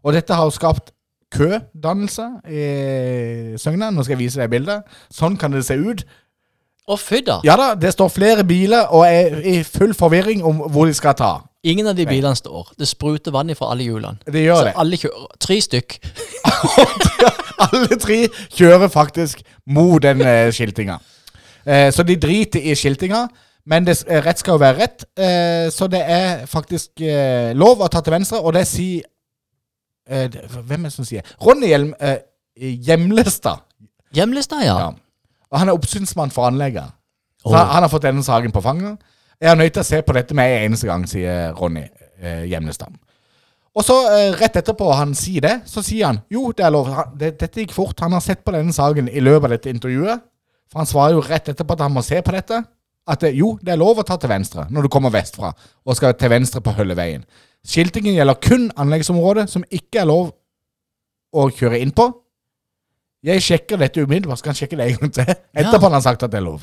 S1: Og dette har jo skapt kødannelse i Søgna. Nå skal jeg vise deg bildet. Sånn kan det se ut.
S2: Å, fy da!
S1: Ja da, det står flere biler og er i full forvirring om hvor de skal ta.
S2: Ingen av de bilene står. Det spruter vann fra alle hjulene.
S1: Det gjør
S2: Så
S1: det.
S2: alle kjører. Tre stykk.
S1: [LAUGHS] Alle tre kjører faktisk mot den eh, skiltinga. Eh, så de driter i skiltinga, men det, s- eh, rett skal jo være rett. Eh, så det er faktisk eh, lov å ta til venstre, og det sier eh, det- Hvem er det som sier Ronny Hjelm, eh, Hjemlestad.
S2: Hjemlestad, ja.
S1: Ja. Og han er oppsynsmann for anlegget. Så
S2: Åh.
S1: han, han har fått denne saken på fanget. Jeg er nødt til å se på dette med en eneste gang, sier Ronny eh, Hjemlestad. Og så eh, rett etterpå han sier det, så sier han jo, det er lov. Han, det, dette gikk fort. Han har sett på denne saken i løpet av dette intervjuet. For han svarer jo rett etterpå at han må se på dette. At det, jo, det er lov å ta til venstre når du kommer vestfra og skal til venstre på Hølleveien. Skiltingen gjelder kun anleggsområdet som ikke er lov å kjøre inn på. Jeg sjekker dette umiddelbart, så kan jeg sjekke det en gang til. Etterpå han har sagt at det er lov.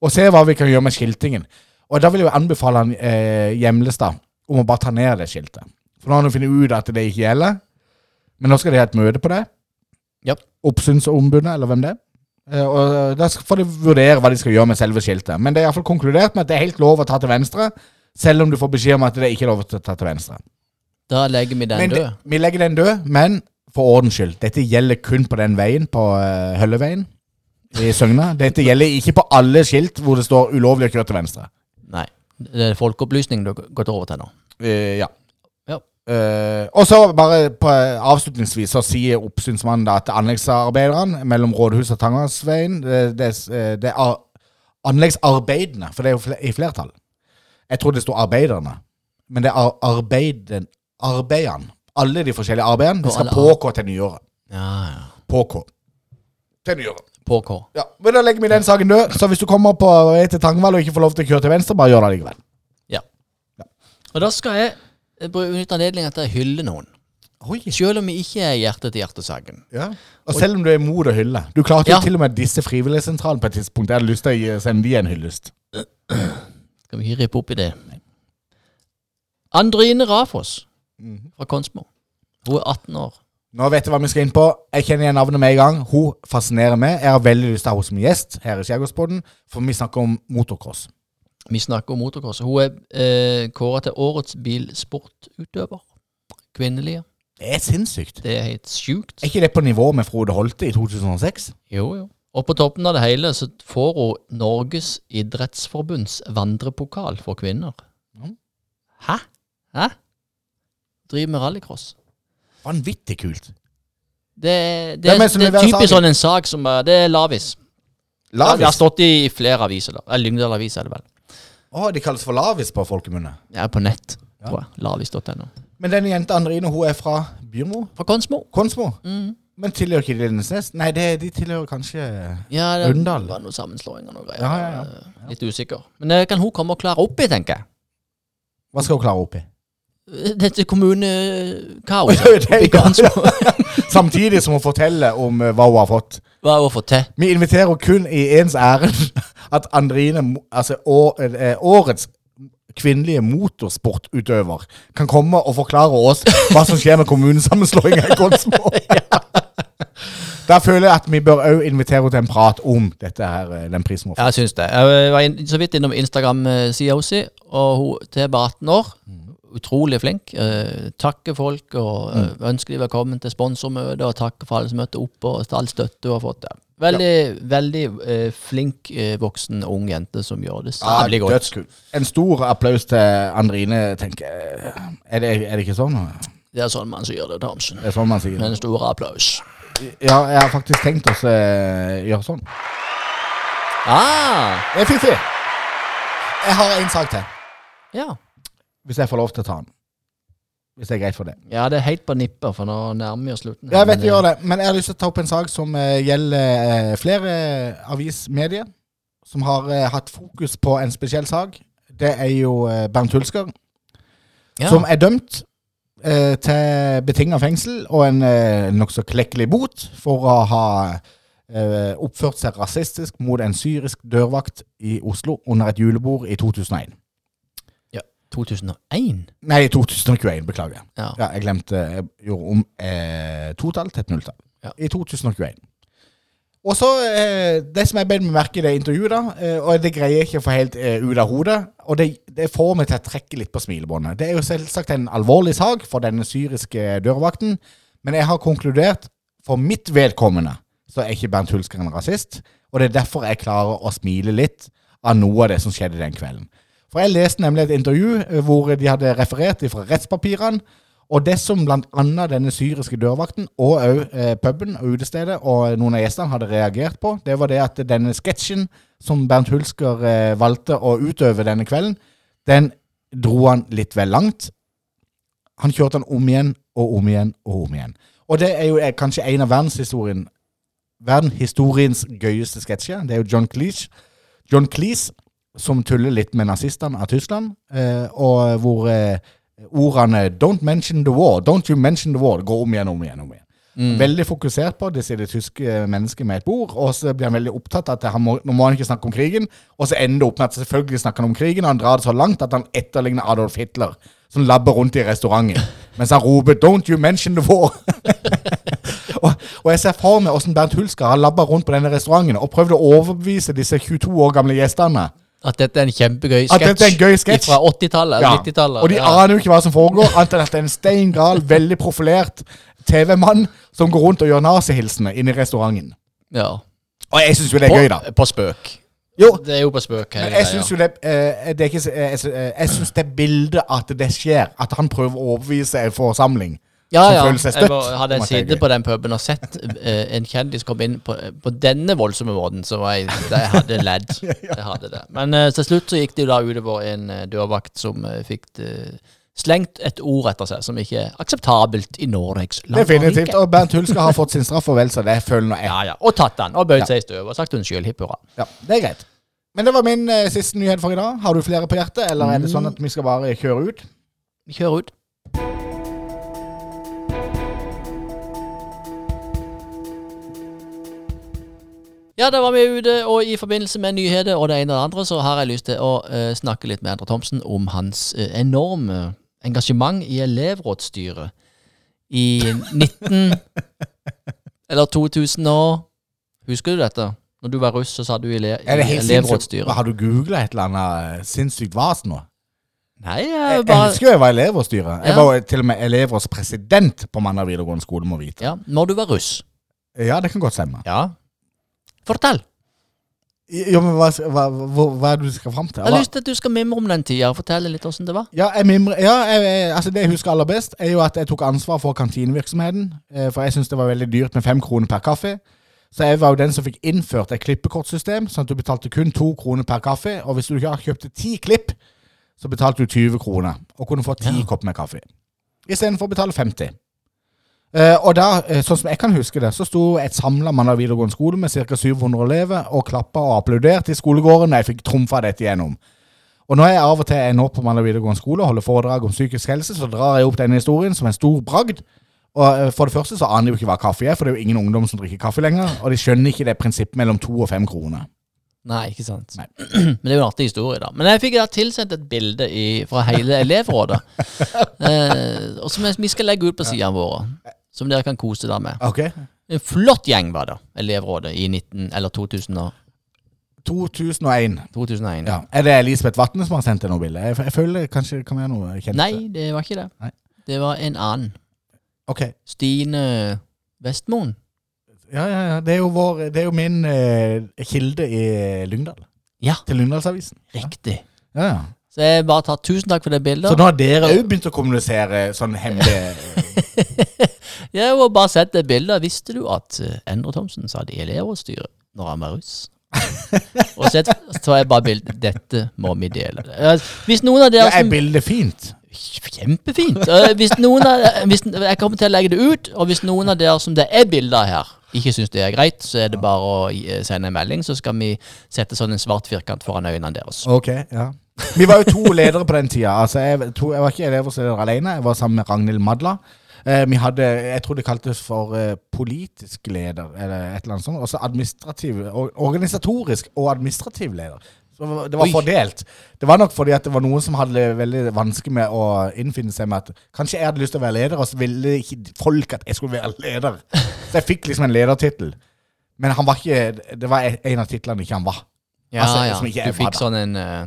S1: Og se hva vi kan gjøre med skiltingen. Og da vil jeg jo anbefale han eh, Hjemlestad om å bare ta ned det skiltet. For nå har han jo funnet ut at det ikke gjelder. Men nå skal de ha et møte på det.
S2: Ja.
S1: Oppsynsombudet, eller hvem det er. Eh, og da skal- får de vurdere hva de skal gjøre med selve skiltet. Men det er iallfall konkludert med at det er helt lov å ta til venstre, selv om du får beskjed om at det ikke er lov å ta til venstre.
S2: Da legger vi den
S1: Men
S2: død.
S1: det- Vi legger den død, men for ordens skyld. Dette gjelder kun på den veien, på eh, Hølleveien i Søgna. Dette gjelder ikke på alle skilt hvor det står 'ulovlig å kjøre til venstre'.
S2: Nei. Det er folkeopplysning du har gått over til nå.
S1: Eh, ja.
S2: Ja.
S1: Eh, og så bare på, avslutningsvis så sier oppsynsmannen da at anleggsarbeiderne mellom rådhuset og Tangasveien det, det, eh, det er anleggsarbeidene, for det er jo fle i flertall. Jeg trodde det sto arbeiderne, men det er ar- arbeiden, arbeidene. Alle de forskjellige arbeidene. De
S2: Og
S1: skal
S2: alle ar-
S1: pågå til nyåret.
S2: Ja, ja.
S1: Pågå. Til nyåret.
S2: På K.
S1: Ja, men da legger vi den saken død. Så hvis du kommer på vei til Tangvall og ikke får lov til å kjøre til venstre, bare gjør det likevel.
S2: Ja. Og da skal jeg eh, bru- benytte anledningen til å hylle noen. Selv om vi ikke er hjerte-til-hjerte-saken.
S1: Ja. Og selv om du er imot å hylle Du klarte
S2: Ja.
S1: jo til og med disse frivilligsentralene på et tidspunkt. Jeg hadde lyst til å gi- sende de en hyllest.
S2: Skal vi ikke rippe opp i det? Andrine Rafos fra Konsmo. Hun er 18 år.
S1: Nå vet jeg hva vi skal inn på. Jeg kjenner igjen navnet med en gang. Hun fascinerer meg. Jeg har veldig lyst til å ha henne som gjest her i Skjærgårdspodden, for vi snakker om motocross.
S2: Vi snakker om motocross. Hun er eh, kåra til årets bilsportutøver. Kvinnelige.
S1: Det er sinnssykt.
S2: Det er helt sjukt.
S1: Er ikke det på nivå med Frode Holte i 2006?
S2: Jo, jo. Og på toppen av det hele så får hun Norges idrettsforbunds vandrepokal for kvinner.
S1: Ja.
S2: Hæ? Hæ? Driver med rallycross.
S1: Vanvittig kult.
S2: Det, det,
S1: Hvem er
S2: er,
S1: det som
S2: det er
S1: leverer
S2: typisk
S1: saken?
S2: sånn en sak som eh, Det er Lavis. Det har
S1: Lavis.
S2: stått i flere aviser. da. Eller Lyngdal Avis er det vel.
S1: Å, de kalles for Lavis på folkemunne.
S2: Det er på nett, tror jeg. Lavis.no.
S1: Men denne jenta Andrine, hun er fra Byrmo?
S2: Fra Konsmo.
S1: Konsmo?
S2: Mhm.
S1: Men tilhører ikke de Lindesnes? Nei, det, de tilhører kanskje
S2: Ja, det
S1: Lyngdal.
S2: var noen sammenslåinger og noe greier.
S1: Ja, ja, ja.
S2: Eh, Litt usikker. Men det kan hun komme og klare opp i, tenker jeg. [LAUGHS]
S1: Hva skal hun klare opp i?
S2: Dette kommunekaoset.
S1: Det er det,
S2: oppe i
S1: [LAUGHS] ja.
S2: Konsmo.
S1: [LAUGHS] Samtidig som hun forteller om eh, hva hun har fått.
S2: Hva er hun fått til?
S1: Vi inviterer henne kun i ens ærend [LAUGHS] at Andrine, Mo- altså å, eh, årets kvinnelige motorsportutøver, kan [LAUGHS] komme og forklare oss hva som skjer med kommunesammenslåinga i Konsmo. Der føler jeg at vi bør òg invitere henne til en prat om dette her, eh, den prisen vår.
S2: Ja, jeg syns det. Jeg var inn, så vidt innom Instagram-sida hennes, og hun til bare 18 år.
S1: Mm.
S2: Utrolig flink. Eh, takker folk og eh,
S1: Mm.
S2: ønsker de velkommen til sponsormøte, og takker for alle som møtte opp, og til all støtte hun har fått. Ja. Veldig veldig eh, flink eh, voksen ung jente som gjør det særlig godt.
S1: dødskul. En stor applaus til Andrine, tenker jeg. Er det, er det ikke sånn?
S2: Det er sånn man som gjør det, Thomsen.
S1: Det er sånn man sier
S2: Med
S1: det.
S2: en stor applaus.
S1: Ja, jeg har faktisk tenkt å eh, gjøre sånn.
S2: Ah,
S1: Det er fiffig. Jeg har en sak til,
S2: ja.
S1: hvis jeg får lov til å ta den. Hvis det er greit for det.
S2: ja, det er helt på nippet, for nå nærmer vi oss slutten. her,
S1: Jeg vet
S2: men
S1: jeg gjør det, men jeg har lyst til å ta opp en sak som eh, gjelder eh, flere avismedier, som har eh, hatt fokus på en spesiell sak. Det er jo eh, Bernt Hulsker,
S2: Ja.
S1: som er dømt eh, til betinga fengsel og en eh, nokså klekkelig bot for å ha eh, oppført seg rasistisk mot en syrisk dørvakt i Oslo under et julebord i 2001.
S2: ja. 2001?
S1: Nei, 2021, beklager.
S2: Ja.
S1: Ja, jeg glemte Jeg gjorde om eh, totall til et nulltall.
S2: Ja.
S1: I 2021. Og så eh, Det som jeg bet meg merke i det intervjuet, da, eh, og det greier jeg ikke å få helt eh, ut av hodet, og det, det får meg til å trekke litt på smilebåndet. Det er jo selvsagt en alvorlig sak for denne syriske dørvakten, men jeg har konkludert for mitt vedkommende så er ikke Bernt Hulsker en rasist, og det er derfor jeg klarer å smile litt av noe av det som skjedde den kvelden. For jeg leste nemlig et intervju eh, hvor de hadde referert fra rettspapirene, og det som blant annet denne syriske dørvakten og òg eh, puben og utestedet og noen av gjestene hadde reagert på, det var det at denne sketsjen som Bernt Hulsker eh, valgte å utøve denne kvelden, den dro han litt vel langt. Han kjørte den om igjen og om igjen og om igjen. Og det er jo eh, kanskje en av verdenshistorien Verdenshistoriens gøyeste sketsjer. Det er jo John Cleese. John Cleese som tuller litt med nazistene av Tyskland, eh, og hvor eh, ordene 'Don't mention the war', 'Don't you mention the war' går om igjen om igjen. om igjen. Veldig fokusert på det, sier det tyske mennesket med et bord, og så blir han veldig opptatt av at han må, nå må han ikke snakke om krigen, og så ender det opp med at selvfølgelig snakker han om krigen, og han drar det så langt at han etterligner Adolf Hitler, som labber rundt i restauranten, mens han roper 'Don't you mention the war'. [LAUGHS] og, og jeg ser for meg hvordan Bernt Hulsker har labba rundt på denne restauranten og prøvd å overbevise disse 22 år gamle gjestene.
S2: At dette er en kjempegøy
S1: At dette er en gøy sketsj.
S2: Fra 80-tallet,
S1: Ja.
S2: 90-tallet.
S1: Og de aner jo ikke hva som foregår, annet enn at det er en steingal, veldig profilert TV-mann som går rundt og gjør nazihilsener inne i restauranten.
S2: ja.
S1: Og jeg syns jo det
S2: På,
S1: er gøy, da.
S2: på spøk.
S1: Jo,
S2: Det er jo på spøk. hele
S1: men jeg
S2: greia.
S1: syns jo det, eh, det er ikke, så- eh, jeg sy- eh, Jeg syns det bildet at det skjer, at han prøver å overbevise en forsamling
S2: ja,
S1: som
S2: ja.
S1: føler seg
S2: Jeg
S1: støtt.
S2: var- hadde
S1: om at
S2: jeg
S1: det er
S2: sittet
S1: gøy.
S2: på den puben og sett eh, en kjendis komme inn på, eh, på denne voldsomme måten, så var jeg, det hadde jeg ledd.
S1: [LAUGHS]
S2: Jeg hadde det. Men eh, til slutt så gikk det jo da utover en eh, dørvakt som eh, fikk det- slengt et ord etter seg som ikke er akseptabelt i Norges land. og
S1: Definitivt.
S2: rike.
S1: Og Bernt Hulsker har fått sin straff, og vel så det. Føler nå jeg.
S2: Ja, ja. Og tatt den, og bøyd seg i støvet og sagt unnskyld. Hipp hurra.
S1: Ja, det er greit. Men det var min eh, siste nyhet for i dag. Har du flere på hjertet, eller er det sånn at vi skal bare kjøre ut?
S2: Vi kjører ut. Ja, da var vi ute, og i forbindelse med nyheter og det ene og det andre, så har jeg lyst til å eh, snakke litt med Endre Thomsen om hans eh, enorme engasjement i elevrådsstyret i
S1: [LAUGHS]
S2: 19... eller 2000 og Husker du dette? Når du var russ, så satt du i, le i
S1: Er det helt sinnssykt?
S2: elevrådsstyret.
S1: Har du googla et eller annet eh, sinnssykt vas nå?
S2: Nei,
S1: Jeg
S2: jeg
S1: jeg
S2: bare
S1: husker jo jeg var elevrådsstyret. Jeg
S2: Ja.
S1: var jo til og med elevrådspresident på Mandal videregående skole, må vite.
S2: Ja, når du var russ.
S1: Ja, det kan godt stemme.
S2: Ja. Fortell.
S1: Jo, men hva, hva, hva, hva er det du skal fram til?
S2: Jeg har
S1: Hva?
S2: lyst til at du skal mimre om den tida og fortelle litt åssen det var.
S1: Ja, jeg mimrer, ja jeg, jeg, altså det jeg husker aller best, er jo at jeg tok ansvar for kantinevirksomheten. eh, For jeg syns det var veldig dyrt med fem kroner per kaffe. Så jeg var jo den som fikk innført et klippekortsystem, sånn at du betalte kun to kroner per kaffe. Og hvis du ikke kjøpte ti klipp, så betalte du 20 kroner. Og kunne få ti
S2: Ja.
S1: kopp med kaffe. Istedenfor å betale 50. Eh, og da, eh, sånn som jeg kan huske det, så sto et samla Mandal videregående skole med ca. 700 elever og klappa og applauderte i skolegården da jeg fikk trumfa dette gjennom. Og når jeg av og til er nå på Mandal videregående skole og holder foredrag om psykisk helse, så drar jeg opp denne historien som en stor bragd. Og eh, for det første så aner de jo ikke hva kaffe er, for det er jo ingen ungdom som drikker kaffe lenger. Og de skjønner ikke det prinsippet mellom to og fem kroner.
S2: Nei, [CLEARS THROAT] ikke sant.
S1: Nei.
S2: Men det er jo en artig historie, da. Men jeg fikk da tilsendt et bilde i, fra hele
S1: [LAUGHS]
S2: elevrådet. eh, og som jeg- vi skal legge ut på sidene våre. Som dere kan kose dere med.
S1: Ok?
S2: En flott gjeng var det, elevrådet, i 19, eller 2000 og,
S1: 2001.
S2: 2001.
S1: Ja. Er det Elisabeth Vatne som har sendt deg noe bilde? Jeg, jeg føler kanskje det kan være noe kjent.
S2: Nei, det var ikke det.
S1: Nei.
S2: Det var en annen.
S1: Ok.
S2: Stine Vestmoen.
S1: Ja, ja, ja. Det er jo, vår, det er jo min eh, kilde i Lyngdal.
S2: Ja.
S1: Til Lyngdalsavisen.
S2: Riktig.
S1: Ja, ja.
S2: Så jeg bare tar tusen takk for det bildet.
S1: Så nå har dere òg begynt å kommunisere sånn
S2: [LAUGHS]
S1: hemmelig
S2: Jeg har bare sett det bildet. Visste du at eh, Endre Thomsen sa det i elevrådsstyret når han var russ?
S1: [LAUGHS]
S2: og så tar jeg bare bildet. Dette må vi dele. Eh, Hvis noen av
S1: ja,
S2: dere
S1: Er
S2: som
S1: bildet fint?
S2: Kjempefint! Eh, Hvis noen av, hvis, jeg kommer til å legge det ut, og hvis noen av dere som det er bilder her, ikke syns det er greit, så er det bare å eh, sende en melding, så skal vi sette sånn en svart firkant foran øynene deres.
S1: Ok, ja. Vi var jo to ledere på den tida. Altså, jeg, to, jeg var ikke elevrådsleder alene, jeg var sammen med Ragnhild Madla. Eh, vi hadde, jeg tror det kaltes for eh, politisk leder, eller et eller annet sånt. Også administrativ, or, organisatorisk og administrativ leder. Så det var- det var
S2: Oi.
S1: fordelt. Det var nok fordi at det var noen som hadde det veldig vanskelig med å innfinne seg med at kanskje jeg hadde lyst til å være leder, og så ville ikke folk at jeg skulle være leder. Så jeg fikk liksom en ledertittel. Men han var ikke, det var en av titlene ikke han var.
S2: Ja,
S1: Altså, som ikke
S2: ja.
S1: er
S2: Du fikk
S1: fadder.
S2: sånn en eh,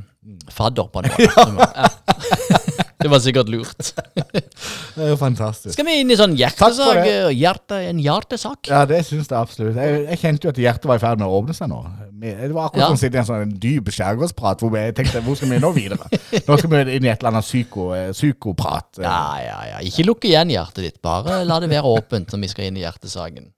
S1: [LAUGHS]
S2: fadder på det. ja. det var sikkert lurt.
S1: Det er jo fantastisk.
S2: Skal vi inn i sånn
S1: for
S2: hjertesak?
S1: det.
S2: eh, Hjerte, en hjertesak?
S1: Ja, det syns jeg absolutt. Jeg, jeg kjente jo at hjertet var i ferd med å åpne seg nå. Men Det var akkurat
S2: Ja.
S1: som å sitte i en sånn dyp skjærgårdsprat hvor jeg tenkte hvor skal vi nå videre? Nå skal vi inn i et eller annet psyko, eh, psykoprat. eh.
S2: Ja, ja, ja. Ikke lukk igjen hjertet ditt. Bare la det være åpent når vi skal inn i hjertesaken.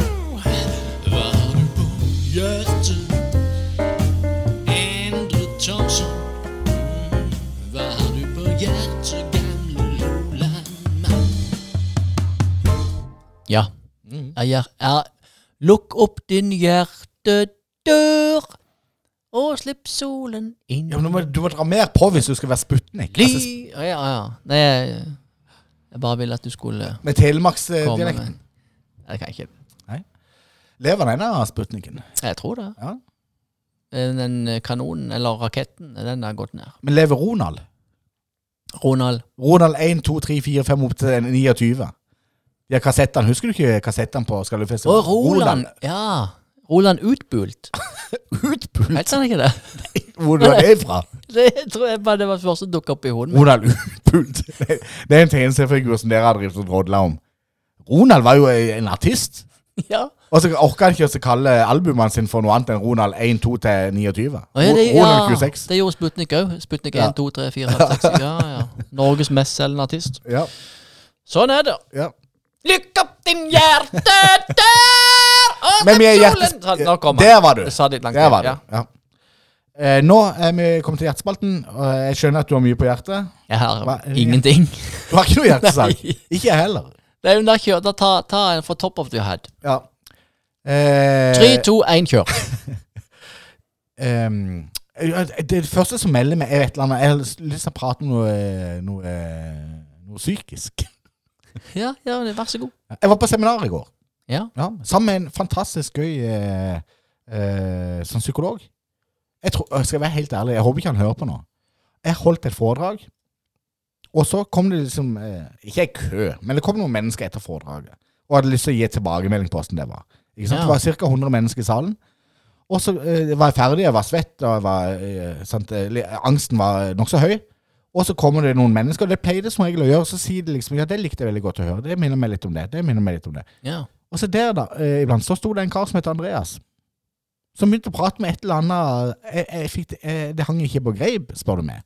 S4: Hva har du på hjertet? Endre Thomsen. Hva har du på hjertet, gamle Lola-mann?
S2: Ja.
S4: Mm.
S2: Ja, hjer- ja. Lukk opp din hjertedør, og slipp solen inn.
S1: Ja, men du, må, du må dra mer på hvis du skal være Sputnik.
S2: Ly
S1: Altså,
S2: Ja, ja, ja. Nei, jeg, jeg bare ville at du skulle
S1: med eh,
S2: komme med
S1: telemarksdialekten.
S2: Nei, Jeg kan ikke.
S1: Lever den ene av Sputniken?
S2: Jeg tror det.
S1: Ja.
S2: Den den eh, kanonen, eller raketten, eh, den har gått ned.
S1: Men lever Ronald?
S2: Ronald.
S1: Ronald 1, 2, 3, 4, 5 opp til 29. De har kassettene. Husker du ikke kassettene på Skallefest?
S2: Å, Roland! Ja. Roland Utbult.
S1: [LAUGHS] Utbult?
S2: Heter han ikke det? [LAUGHS]
S1: Hvor er det fra?
S2: Det tror jeg bare det var det første som dukket opp i hodet mitt.
S1: Ronald Utbult. [LAUGHS] Det er en tegneseriefigur som dere har drevet og drodla om. Ronald var jo en artist.
S2: Ja.
S1: Og så orka han ikke å kalle albumene sine for noe annet enn Ronald 1, 2 til 29.
S2: Å, ja, det, ja.
S1: Ronald 26.
S2: det gjorde Sputnik òg. Sputnik 1,
S1: Ja.
S2: 2, 3, 4, 5,
S1: [LAUGHS]
S2: 6. Ja, ja. Norges mestselgende artist.
S1: Ja,
S2: Sånn er det.
S1: ja.
S2: Lykk opp din hjertedør! Å,
S1: Men vi er
S2: solen!
S1: hjerte-
S2: Sånn, Nå kom han.
S1: Der var du.
S2: Jeg sa det litt langt
S1: Der
S2: ned,
S1: var du.
S2: ja.
S1: Ja. Eh, nå er vi kommet til hjertespalten. og Jeg skjønner at du har mye på hjertet.
S2: Jeg har
S1: Hva-
S2: ingenting. [LAUGHS]
S1: Du har ikke noe hjertesak.
S2: Nei.
S1: Ikke jeg heller.
S2: Nei, men da kjør. Da ta, ta en for top of your head.
S1: Ja. Eh,
S2: 3, 2, 1,
S1: [LAUGHS]
S2: kjør.
S1: ehm, ja, det første som melder meg, er et eller annet Jeg har lyst lyst til å prate om noe, øh, noe, noe psykisk.
S2: Ja, ja, vær så god.
S1: Jeg var på seminar i går.
S2: Ja.
S1: sammen med en fantastisk gøy eh, eh, sånn psykolog. Jeg, tror, jeg skal være helt ærlig, jeg håper ikke han hører på nå. Jeg holdt et foredrag, og så kom det liksom eh, Ikke en kø, men det kom noen mennesker etter foredraget og hadde lyst til å gi tilbakemelding på åssen det var. Ikke sant?
S2: Ja.
S1: Det var ca. 100 mennesker i salen. Og så eh, var jeg ferdig, jeg var svett, og jeg var, eh, sant, eh, li- angsten var nokså høy. Og så kommer det noen mennesker, og det pleier det som regel å gjøre. Så sier de liksom ja, det likte jeg veldig godt å høre. Det minner meg litt om det. Det minner meg litt om det.
S2: Ja.
S1: Og så der, da, eh, iblant, så sto det en kar som het Andreas. Som begynte å prate med et eller annet jeg, jeg fikk, det- eh, Det hang ikke på greip, spør du meg.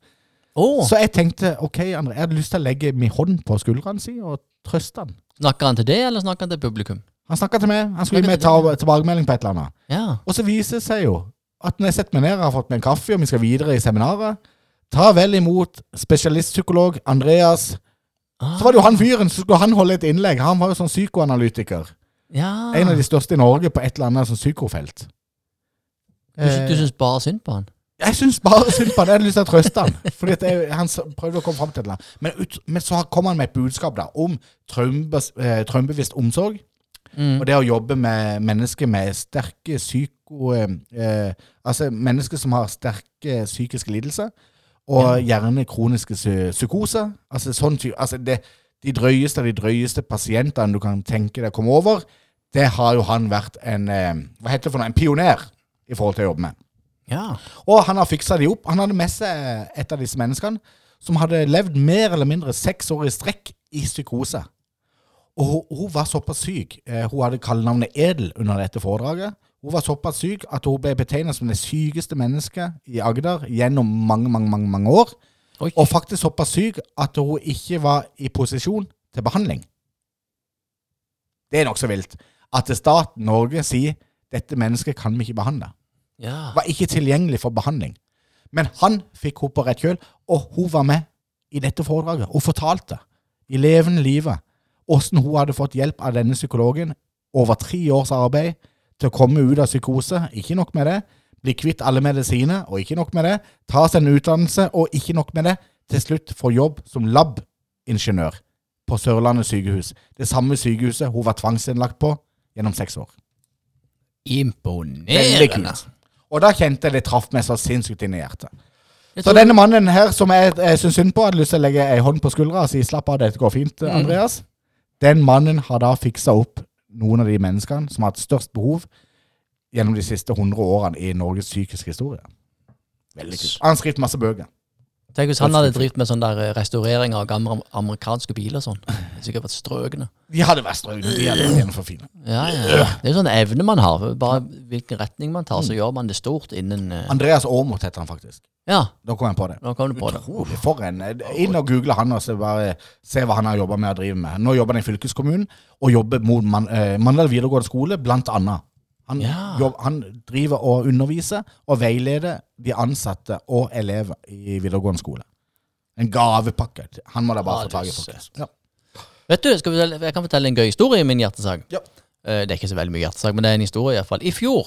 S2: Å,
S1: Så jeg tenkte ok, André, jeg hadde lyst til å legge min hånd på skuldrene si og trøste han.
S2: snakker han til det, eller snakker han til publikum?
S1: Han snakka til meg, han skulle gi meg
S2: Snakket
S1: ta,
S2: til
S1: tilbakemelding på et eller annet.
S2: Ja.
S1: Og så viser det seg jo at når jeg setter meg ned, har fått meg en kaffe, og vi skal videre i seminaret Ta vel imot spesialistpsykolog Andreas.
S2: Ah,
S1: Så var det jo han fyren, så skulle han holde et innlegg. Han var jo sånn psykoanalytiker.
S2: ja.
S1: En av de største i Norge på et eller annet sånn psykofelt. Eh,
S2: Du, sy- du syns bare synd på han?
S1: Jeg syns bare synd på han. Jeg hadde lyst til å trøste han. Fordi at jeg, han s- prøvde å komme fram til et eller annet. Men, ut, men så kom han med et budskap da, om traumbes, eh, traumebevisst omsorg. Og det å jobbe med mennesker med eh, sterke psyko... Eh, altså mennesker som har sterke psykiske lidelser. Og gjerne kroniske psy- psykoser. Altså, sånn ty altså det, de drøyeste av de drøyeste pasientene du kan tenke deg å komme over, det har jo han vært en eh, hva heter det for noe, en pioner i forhold til å jobbe med.
S2: Ja.
S1: Og han har fiksa de opp. Han hadde med seg et av disse menneskene som hadde levd mer eller mindre seks år i strekk i psykose. Og hun, hun var såpass syk. eh, Hun hadde kallenavnet Edel under dette foredraget. Hun var såpass syk at hun ble betegnet som det sykeste mennesket i Agder gjennom mange, mange, mange, mange år.
S2: Oi.
S1: Og faktisk såpass syk at hun ikke var i posisjon til behandling. Det er nokså vilt. At staten Norge sier 'dette mennesket kan vi ikke behandle'
S2: ja.
S1: var ikke tilgjengelig for behandling. Men han fikk henne på rett kjøl, og hun var med i dette foredraget. Hun fortalte i levende livet åssen hun hadde fått hjelp av denne psykologen over tre års arbeid til å komme ut av psykose. Ikke nok med det. Bli kvitt alle medisiner, og ikke nok med det. Ta seg en utdannelse, og ikke nok med det. Til slutt få jobb som lab-ingeniør på Sørlandet sykehus. Det samme sykehuset hun var tvangsinnlagt på gjennom seks år. Veldig
S2: Imponerende.
S1: kult. Og da kjente jeg det traff meg så sinnssykt inn i hjertet.
S2: Jeg
S1: Så
S2: tror-
S1: denne mannen her som jeg, jeg syns synd på, hadde lyst til å legge ei hånd på skuldra og si 'slapp av, dette går fint',
S2: Mm.
S1: Andreas. Den mannen har da fiksa opp noen av de menneskene som har hatt størst behov gjennom de siste 100 årene i Norges psykiske historie. Veldig kult. Han har skrevet masse bøker.
S2: Tenk hvis han hadde drevet med sånn der eh, restaurering av gamle amerikanske biler og sånn. Det er Sikkert vært strøkne.
S1: De hadde vært strøgne. De hadde vært gjennom for fine.
S2: Ja, ja. ja. Det er sånn evne man har. Bare hvilken retning man tar,
S1: Mm.
S2: så gjør man det stort innen eh,
S1: Andreas Aamodt heter han faktisk.
S2: Ja,
S1: Da kom jeg på det.
S2: nå kom du på det.
S1: Utrolig for en. eh, Inn og google han og se, bare, se hva han har jobba med og driver med. Nå jobber han i fylkeskommunen og jobber mot man, eh, Mandal videregående skole, blant annet. Han,
S2: Ja.
S1: jobb, han driver og underviser og veileder de ansatte og elever i videregående skole. En gavepakke. Han må da
S2: Ja,
S1: bare få tak
S2: du
S1: i, folkens.
S2: ser.
S1: Ja.
S2: Vet du, skal vi, fortelle- Jeg kan fortelle en gøy historie i min hjertesak.
S1: Ja.
S2: Eh, Det er ikke så veldig mye hjertesak, men det er en historie i hvert fall. I fjor,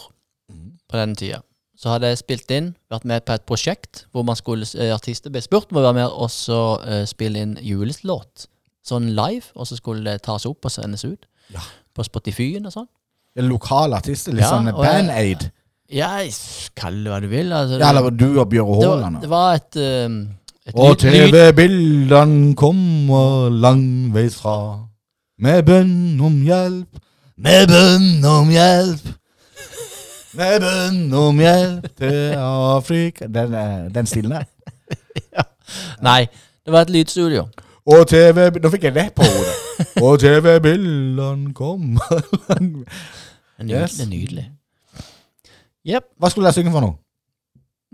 S2: på denne tida, så hadde jeg spilt inn, vært med på et prosjekt hvor man skulle, eh, artister ble spurt om å være med og så eh, spille inn julelåt. Sånn live, og så skulle det tas opp og sendes ut.
S1: Ja.
S2: På Spotify-en og sånn.
S1: Det er Lokale artister. Litt
S2: Ja,
S1: sånn
S2: og jeg-
S1: Band-Aid.
S2: Ja, s- kall det hva du vil. Altså,
S1: Ja, eller du og Bjøre
S2: det, var,
S1: Haaland.
S2: det
S1: og-
S2: var et, um, et
S1: Og
S2: lyd- lyd-
S1: TV-bildene kommer langveis fra. Med bønn om hjelp, med bønn om hjelp. Med bønn om hjelp til Afrika Den, er- den stilen der.
S2: Nei, det var et lydstudio.
S1: Og TV Nå fikk jeg det på hodet. Og TV-bildene kommer langveis.
S2: Det er nydelig.
S1: Yes.
S2: Det er nydelig. Yep.
S1: Hva skulle jeg synge for noe?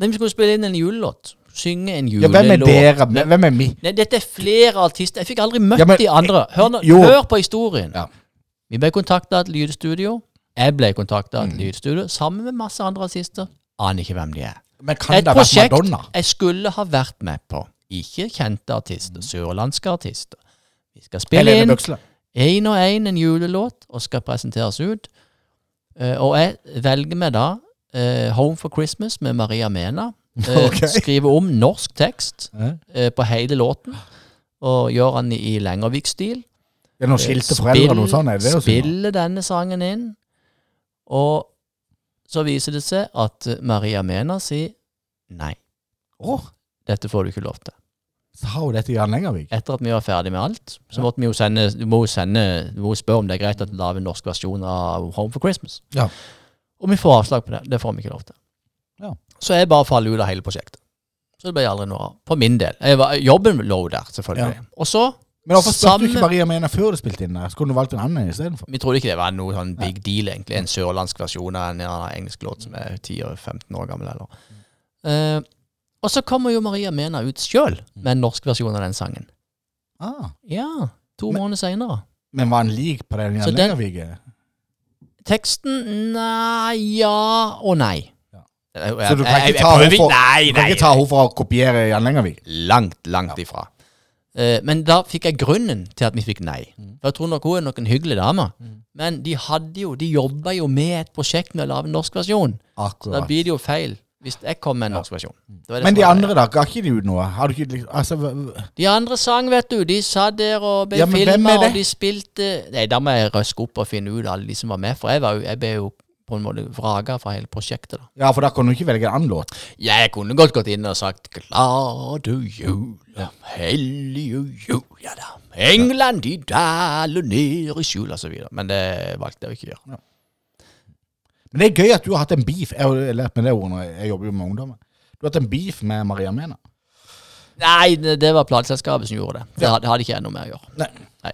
S2: Nei, vi skulle spille inn en julelåt. Synge en
S1: Ja,
S2: julelåt.
S1: hvem er dere? Hvem er vi?
S2: Nei, dette er flere artister. Jeg fikk aldri møtt
S1: Ja, men-
S2: de andre. Hør, nå-
S1: Jo.
S2: hør på historien.
S1: Ja.
S2: Vi ble kontakta av et lydstudio. Jeg ble
S1: Mm.
S2: kontakta av et lydstudio sammen med masse andre artister. Aner ikke hvem de er.
S1: Men kan
S2: Et
S1: det ha vært
S2: prosjekt
S1: Madonna?
S2: jeg skulle ha vært med på. Ikke kjente
S1: Mm.
S2: artister. Sørlandske artister. Vi skal spille
S1: Helene
S2: inn
S1: Bøksle?
S2: én og én en julelåt og skal presenteres ut. Eh, og jeg velger meg da eh, Home for Christmas med Maria Mena. Eh,
S1: [LAUGHS] Ok.
S2: Skriver om norsk tekst
S1: Ja.
S2: eh, på hele låten. Og gjør den i Lengervik-stil. Eh,
S1: Det er noen skilte foreldre eller noe sånt? Er det det å synge?
S2: spiller denne sangen inn. Og så viser det seg at eh, Maria Mena sier nei,
S1: Åh,
S2: dette får du ikke lov til.
S1: Sa hun dette i Jan Lengervik?
S2: Etter at vi var ferdig med alt, så måtte vi jo sende Du må jo sende, du må jo spørre om det er greit at du lager en norsk versjon av Home for Christmas.
S1: Ja.
S2: Og vi får avslag på det. Det får vi ikke lov til.
S1: Ja.
S2: Så jeg bare faller ut av hele prosjektet. Så det ble aldri noe av. For min del. Jeg var, jobben lå jo der, selvfølgelig. Og så
S1: Men hvorfor spurte du
S2: Samme-
S1: ikke Maria Mena før du spilte inn? der? Skulle du valgt en annen istedenfor?
S2: Vi trodde ikke det var noe sånn big deal, egentlig. En sørlandsk versjon av en ja, engelsk låt som er 10-15 år gammel, eller. Eh, og så kommer jo Maria Mena ut sjøl med en norsk versjon av den sangen.
S1: Ah.
S2: Ja, to
S1: Men-
S2: måneder seinere.
S1: Men var han lik på den
S2: Så
S1: Jan
S2: den-
S1: Lengervik?
S2: Teksten nei, ja og nei.
S1: Ja.
S2: Jeg,
S1: Så du kan
S2: jeg-
S1: ikke
S2: jeg
S1: ta
S2: prøver
S1: henne
S2: ikke-
S1: for,
S2: Nei,
S1: du kan
S2: nei.
S1: ikke ta henne for å kopiere Jan Lengervik?
S2: Langt, langt ifra. Eh, men da fikk jeg grunnen til at vi fikk nei.
S1: Mm.
S2: For jeg tror nok hun er nok en hyggelig dame. Men de hadde jo, de jobba jo med et prosjekt med å lage en norsk versjon. Da
S1: Akkurat.
S2: blir det jo feil hvis jeg kom med en norsk versjon. Det var det
S1: Mm. Men
S2: som
S1: de
S2: var det.
S1: andre, da? Ga ikke de ut noe? Har du ikke liksom- altså, hva- hva-
S2: De andre sang, vet du. De satt der og ble
S1: Ja, men hvem
S2: filma,
S1: er det?
S2: og de spilte Nei, da må jeg røske opp og finne ut alle de som var med, for jeg, var jo, jeg ble jo på på en måte vraka fra hele prosjektet. da.
S1: Ja, for da kan du ikke velge en annen låt.
S2: Jeg kunne godt gått inn og sagt 'Glade jula, hellige jula da, England de daler ned i skjul', og så videre. Men det valgte jeg å ikke gjøre.
S1: Men det er gøy at du har hatt en beef. Jeg har jo lært meg det ordet når jeg jobber jo med ungdommer. Du har hatt en beef med Maria Mena.
S2: Nei, det, det var plateselskapet som gjorde det. Det hadde, hadde ikke jeg noe med å gjøre.
S1: Nei.
S2: Nei.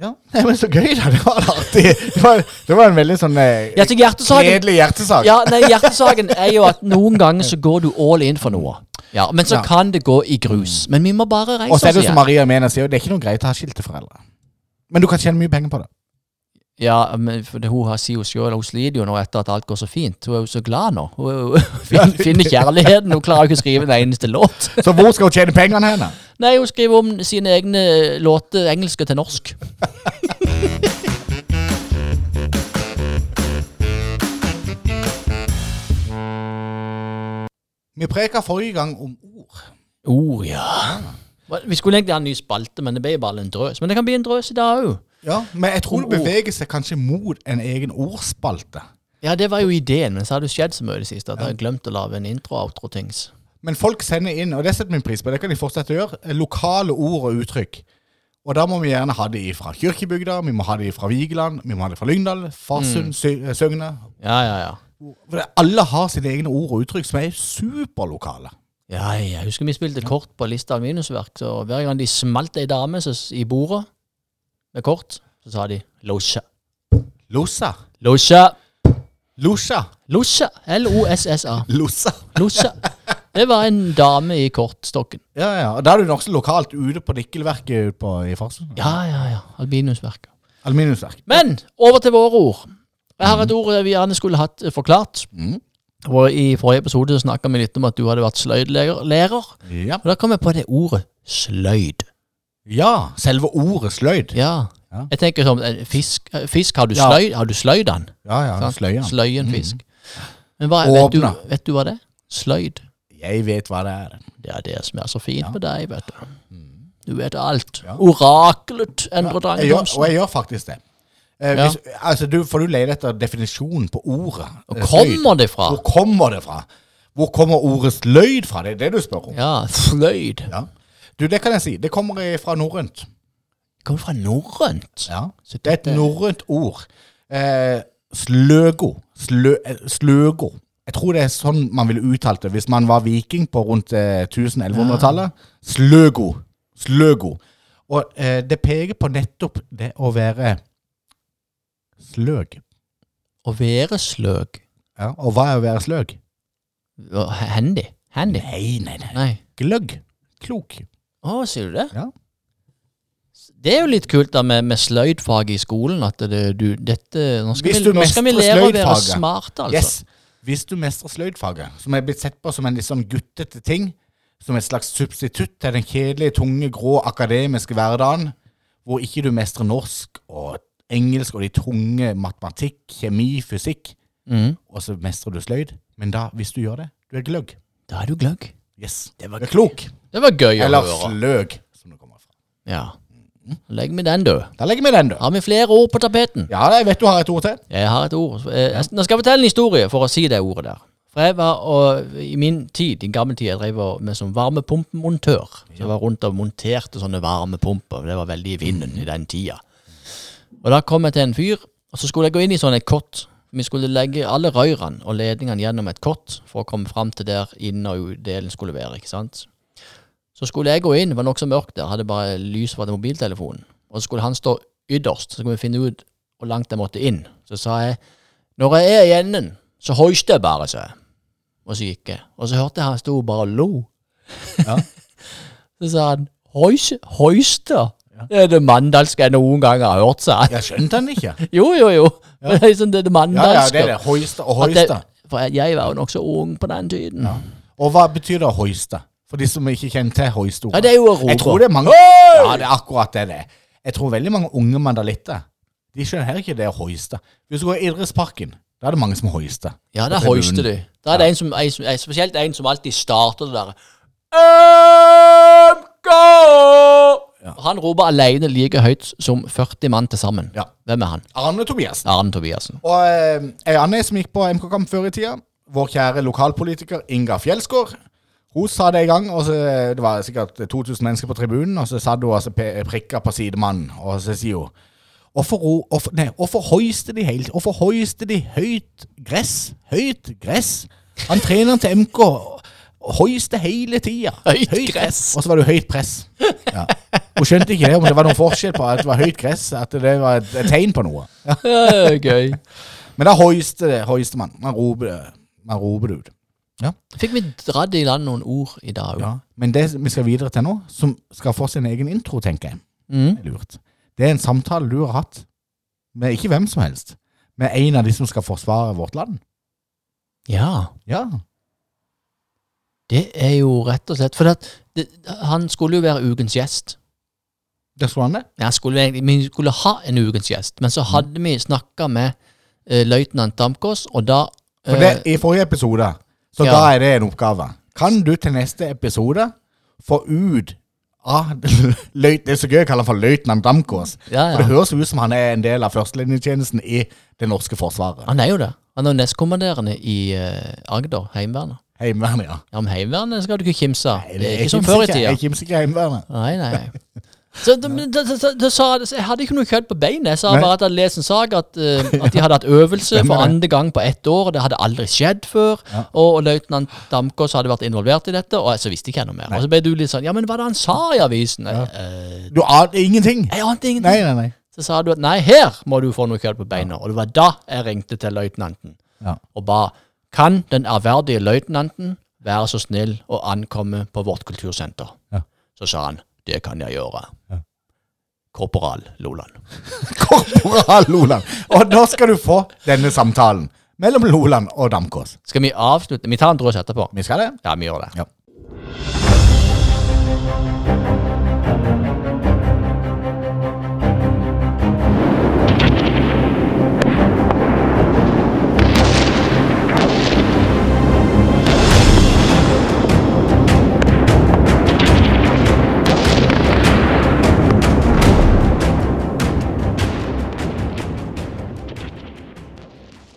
S1: Ja, Nei, men så gøy, da. Det var litt artig. Det var, det var en veldig sånn eh,
S2: Ja, så hjertesaken
S1: kjedelig hjertesak.
S2: Ja, nei, hjertesaken er jo at noen ganger så går du all in for noe. Ja, Men så
S1: Ja.
S2: kan det gå i grus. Men vi må bare reise
S1: Og så er det
S2: oss
S1: jo som
S2: igjen.
S1: Maria Mena sier, det er ikke noe greit å ha skilte foreldre. Men du kan tjene mye penger på det.
S2: Ja, men for det, hun har sier jo selv, hun sliter jo nå etter at alt går så fint. Hun er jo så glad nå. Hun er
S1: [LAUGHS]
S2: jo- fin, finner kjærligheten. Hun klarer jo ikke å skrive en eneste låt.
S1: Så hvor skal hun tjene pengene henne?
S2: Nei, hun skriver om sine egne eh, låter, engelske til norsk.
S1: Vi preka forrige gang om ord.
S2: Å Oh, ja. Hva- Vi skulle egentlig ha en ny spalte, men det ble bare en drøs. Men det kan bli en drøs i dag òg.
S1: Ja, Men jeg tror
S2: Om
S1: det beveger seg kanskje mot en egen ordspalte.
S2: Ja, det var jo ideen, men så har det jo skjedd så mye i det siste at jeg har glemt å lage en intro-outro-tings.
S1: Men folk sender inn, og det setter vi pris på, det kan de fortsette å gjøre, eh, lokale ord og uttrykk. Og da må vi gjerne ha de fra Kirkebygda, vi må ha de fra Vigeland, vi må ha de fra Lyngdal, Farsund, Sø- eh, Søgne.
S2: Ja, ja, ja.
S1: For det- alle har sine egne ord og uttrykk som er superlokale.
S2: Ja, jeg husker vi spilte kort på Lista minusverk, så hver gang de smalt ei dame så, s- i bordet med kort, så sa de losja.
S1: Lossa.
S2: Losja.
S1: Losja.
S2: Losja. L-O-S-S-A.
S1: Lossa.
S2: Losja. [LAUGHS] Det var en dame i kortstokken.
S1: Ja, ja. Og da er du nokså lokalt ute på nikkelverket ute på, i Farsund.
S2: Ja, ja, ja. Albinusverket.
S1: Aluminiumsverk.
S2: Men over til våre ord. Jeg har et ord vi gjerne skulle hatt eh, forklart.
S1: Mhm.
S2: Og I forrige episode snakka vi litt om at du hadde vært sløydlærer.
S1: Ja.
S2: Og da kom jeg på det ordet sløyd.
S1: ja. Selve ordet sløyd.
S2: Ja.
S1: Ja.
S2: Jeg tenker sånn eh, Fisk, eh, fisk har du
S1: Ja.
S2: sløyd? Har du sløyd den?
S1: Ja, ja. Mm.
S2: Sant?
S1: Sløya.
S2: Sløyen fisk. Men hva, vet, du,
S1: Åpna.
S2: vet du hva det er? Sløyd.
S1: Jeg vet hva det er.
S2: Det er det som er så fint med deg, vet du. Du vet alt.
S1: Mm. Ja.
S2: Oraklet, Endre
S1: Jeg
S2: Drange
S1: gjør, og
S2: Thomsen.
S1: jeg gjør faktisk det. Eh,
S2: Ja.
S1: hvis, altså, du, for du leter etter definisjonen på ordet.
S2: Og
S1: eh, sløyd.
S2: kommer det fra?
S1: Hvor kommer det fra? Hvor kommer ordet sløyd fra? Det er det du spør om.
S2: Ja, sløyd.
S1: Ja. Du, det kan jeg si. Det kommer eh, fra norrønt.
S2: Kommer fra norrønt.
S1: Ja.
S2: Så
S1: Det er et norrønt ord. Eh, sløgo. Slø, eh, sløgo. Jeg tror det er sånn man ville uttalt det hvis man var viking på rundt eh, 1100-tallet. Sløgo. Sløgo. Og eh, det peker på nettopp det å være sløg.
S2: Å være sløg.
S1: Ja, og hva er å være sløg?
S2: Hva- Handy. Handy.
S1: Nei, nei, nei.
S2: Nei.
S1: Gløgg. Klok.
S2: Å, sier du det?
S1: Ja.
S2: Det er jo litt kult da med, med sløydfag i skolen, at det, du, dette, nå skal,
S1: Hvis
S2: vi,
S1: du
S2: nå skal vi
S1: mestrer
S2: lære å være
S1: sløydfaget.
S2: smarte, altså.
S1: Yes. Hvis du mestrer sløydfaget, som er blitt sett på som en litt sånn guttete ting, som et slags substitutt til den kjedelige, tunge, grå akademiske hverdagen, hvor ikke du mestrer norsk og engelsk og de tunge matematikk, kjemi, fysikk,
S2: Mhm.
S1: og så mestrer du sløyd. Men da, hvis du gjør det, du er gløgg.
S2: Da er du gløgg.
S1: Yes.
S2: Det var
S1: Du er klok.
S2: Det var gøy å
S1: Eller
S2: høre.
S1: sløg, som det kommer fra.
S2: Ja. Legg med den, du.
S1: Da legger vi den, du.
S2: Har vi flere ord på tapeten?
S1: Ja, jeg vet du har et ord til.
S2: Jeg har et ord. Eh, jeg- Nå skal jeg fortelle en historie for å si det ordet der. For jeg var, og I min tid, i gammel tid, jeg drev og- med som varmepumpemontør. Så jeg var rundt og monterte sånne varmepumper. Det var veldig i vinden i den tida. Og da kom jeg til en fyr, og så skulle jeg gå inn i sånn et kott. Vi skulle legge alle rørene og ledningene gjennom et kott for å komme fram til der inn og ut delen skulle være. ikke sant? Så skulle jeg gå inn, det var nokså mørkt der, hadde bare lys fra mobiltelefonen. Og så skulle han stå ytterst, så skulle vi finne ut hvor langt jeg måtte inn. Så sa jeg når jeg er i enden, så hoister jeg bare, sa jeg. Og så gikk jeg. Og så hørte jeg han sto bare og lo.
S1: Ja.
S2: [LAUGHS] så sa han hoiste? hoister? Det er det mandalske jeg noen gang har hørt, sa han.
S1: Jeg skjønte den ikke.
S2: Jo, jo, jo. Men det er liksom det, det
S1: Ja, ja,
S2: mandalske.
S1: det er det. Hoiste og
S2: At det-
S1: hoiste.
S2: For jeg, jeg var jo nokså ung på den tiden. Ja,
S1: Og hva betyr det å hoiste? For de som ikke kjenner til hoiste-ordet.
S2: det er jo å rope.
S1: Jeg tror det er mange Ja, det er akkurat det det er. Jeg tror veldig mange unge mandalitter De skjønner heller ikke det å hoiste. Hvis du går i Idrettsparken, da er det mange som hoister.
S2: Ja, da
S1: På tribunen.
S2: hoister du. Da er det en som, en, som- en, spesielt en som alltid starter det der. MK! han roper alene like høyt som 40 mann til sammen.
S1: Ja.
S2: Hvem er han?
S1: Arne Tobiassen.
S2: Arne
S1: [LAUGHS]
S2: Tobiassen.
S1: Og eh, ei anne som gikk på MK-kamp før i tida, vår kjære lokalpolitiker Inga Fjelsgaard. Hun sa det i gang, og så, eh, det var sikkert 2000 mennesker på tribunen, og så satt hun og så pe- prikka på sidemannen, og så sier hun Hvorfor, ro- hvorfor, nei, hvorfor hoister de helt Hvorfor hoister de høyt gress? Høyt gress? Han treneren til MK hoister hele tida.
S2: Høyt gress.
S1: Og så var det jo høyt press. Ja. Hun skjønte ikke det, om det var noen forskjell på at det var høyt gress, at det var et, et tegn på noe.
S2: Eh, Gøy.
S1: Men da hoister det, hoister man. Man roper det, man roper det ut.
S2: Fikk vi dratt i land noen ord i dag? Ja.
S1: Men det vi skal videre til nå, som skal få sin egen intro, tenker jeg,
S2: Mm.
S1: det er lurt. Det er en samtale du har hatt med ikke hvem som helst, med en av de som skal forsvare vårt land.
S2: ja.
S1: Ja.
S2: Det er jo rett og slett For at det, han skulle jo være ukens gjest.
S1: Det skulle han det?
S2: Ja, skulle vi, egentlig, vi skulle ha en ukens gjest, men så hadde vi snakka med uh, løytnant Damkås, og da
S1: For det,
S2: eh,
S1: I forrige episode, så
S2: Ja.
S1: ga jeg det en oppgave. Kan du til neste episode få ut av [LAUGHS] løyt, Det er så gøy å kalle han for løytnant Damkås.
S2: Ja, ja.
S1: For det høres jo ut som han er en del av førstelinjetjenesten i det norske forsvaret.
S2: Han er jo det. Han er jo nestkommanderende i eh, Agder, Heimevernet.
S1: Heimevernet, ja.
S2: Ja, om Heimevernet skal du ikke kimse av. Det er ikke som
S1: kimser
S2: før i
S1: ikke- sånn
S2: tida.
S1: Jeg kimser ikke Heimevernet.
S2: Nei, nei. [LAUGHS] nei. Så, da- men da- da- da- da sa, jeg- jeg hadde ikke noe kødd på beinet. Jeg sa
S1: Nei.
S2: bare at jeg hadde lest en sak at, eh, [LAUGHS] at de hadde hatt øvelse for
S1: Stemmer det.
S2: andre gang på ett år. og Det hadde aldri skjedd før. Og, og løytnant Damkås hadde vært involvert i dette, og så visste ikke jeg noe mer. Og så ble du litt sånn Ja, men hva er det han sa i avisen? Jeg,
S1: Du aner ingenting?
S2: jeg ante ingenting.
S1: Nei, nei, nei. [LAUGHS]
S2: Så sa du at nei, her må du få noe kødd på beina. Og det var da jeg ringte til løytnanten
S1: Ja.
S2: og ba kan den ærverdige løytnanten være så snill å ankomme på vårt kultursenter.
S1: Ja.
S2: Så sa han det kan jeg gjøre. Korporal Loland.
S1: Korporal Loland. Og nå skal du få denne samtalen mellom Loland og Damkås.
S2: Skal vi avslutte? Vi tar en drøs etterpå.
S1: Vi skal det?
S2: Ja, vi gjør det.
S1: Ja.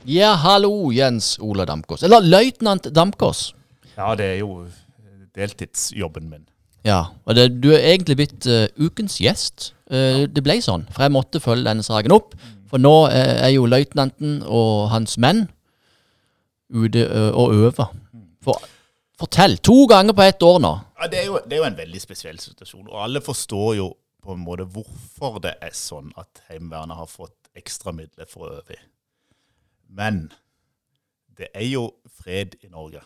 S2: Ja, hallo, Jens Ola Damkås. Eller løytnant Damkås.
S5: Ja, det er jo deltidsjobben min.
S2: Ja, og det, du er egentlig blitt eh, ukens gjest. Eh, Det ble sånn, for jeg måtte følge denne saken opp. For nå eh, er jo løytnanten og hans menn ute eh, og øver. For, fortell! To ganger på ett år nå.
S5: Ja, det, er jo, det er jo en veldig spesiell situasjon, og alle forstår jo på en måte hvorfor det er sånn at Heimevernet har fått ekstra midler for å øve i. Men det er jo fred i Norge,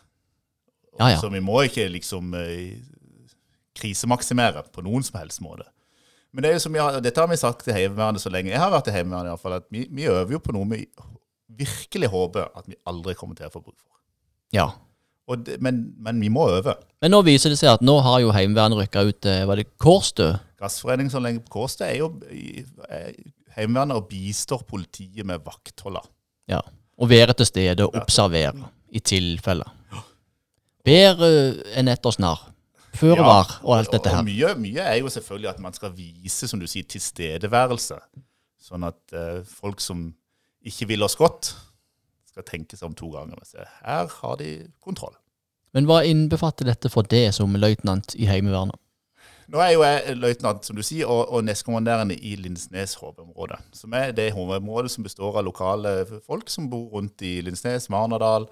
S2: Ja, ja.
S5: så vi må ikke liksom eh, krisemaksimere på noen som helst måte. Men det er jo som jeg, har- dette har vi sagt til Heimevernet så lenge jeg har vært i Heimevernet, i hvert fall, at vi, vi øver jo på noe vi virkelig håper at vi aldri kommer til å få bruk for.
S2: ja.
S5: Og det, men, men vi må øve.
S2: Men nå viser det seg at nå har jo Heimevernet rykka ut til Var det Kårstø?
S5: Gassforeningen som legger på Kårstø, er jo i- er Heimevernet og bistår politiet med vaktholder.
S2: Ja. Å være til stede og observere i tilfelle. Ber eh, en etter snar. Føre
S5: Ja,
S2: var og alt dette
S5: og- Og
S2: her.
S5: mye, mye er jo selvfølgelig at man skal vise som du sier, tilstedeværelse. Sånn at eh, folk som ikke vil oss godt, skal tenke seg om to ganger. og se, Her har de kontroll.
S2: Men hva innbefatter dette for det som løytnant i Heimevernet?
S5: Nå er jo jeg løytnant, som du sier, og, og nestkommanderende i Lindesnes HV-område. Som er det HV-området som består av lokale folk som bor rundt i Lindesnes, Marnardal,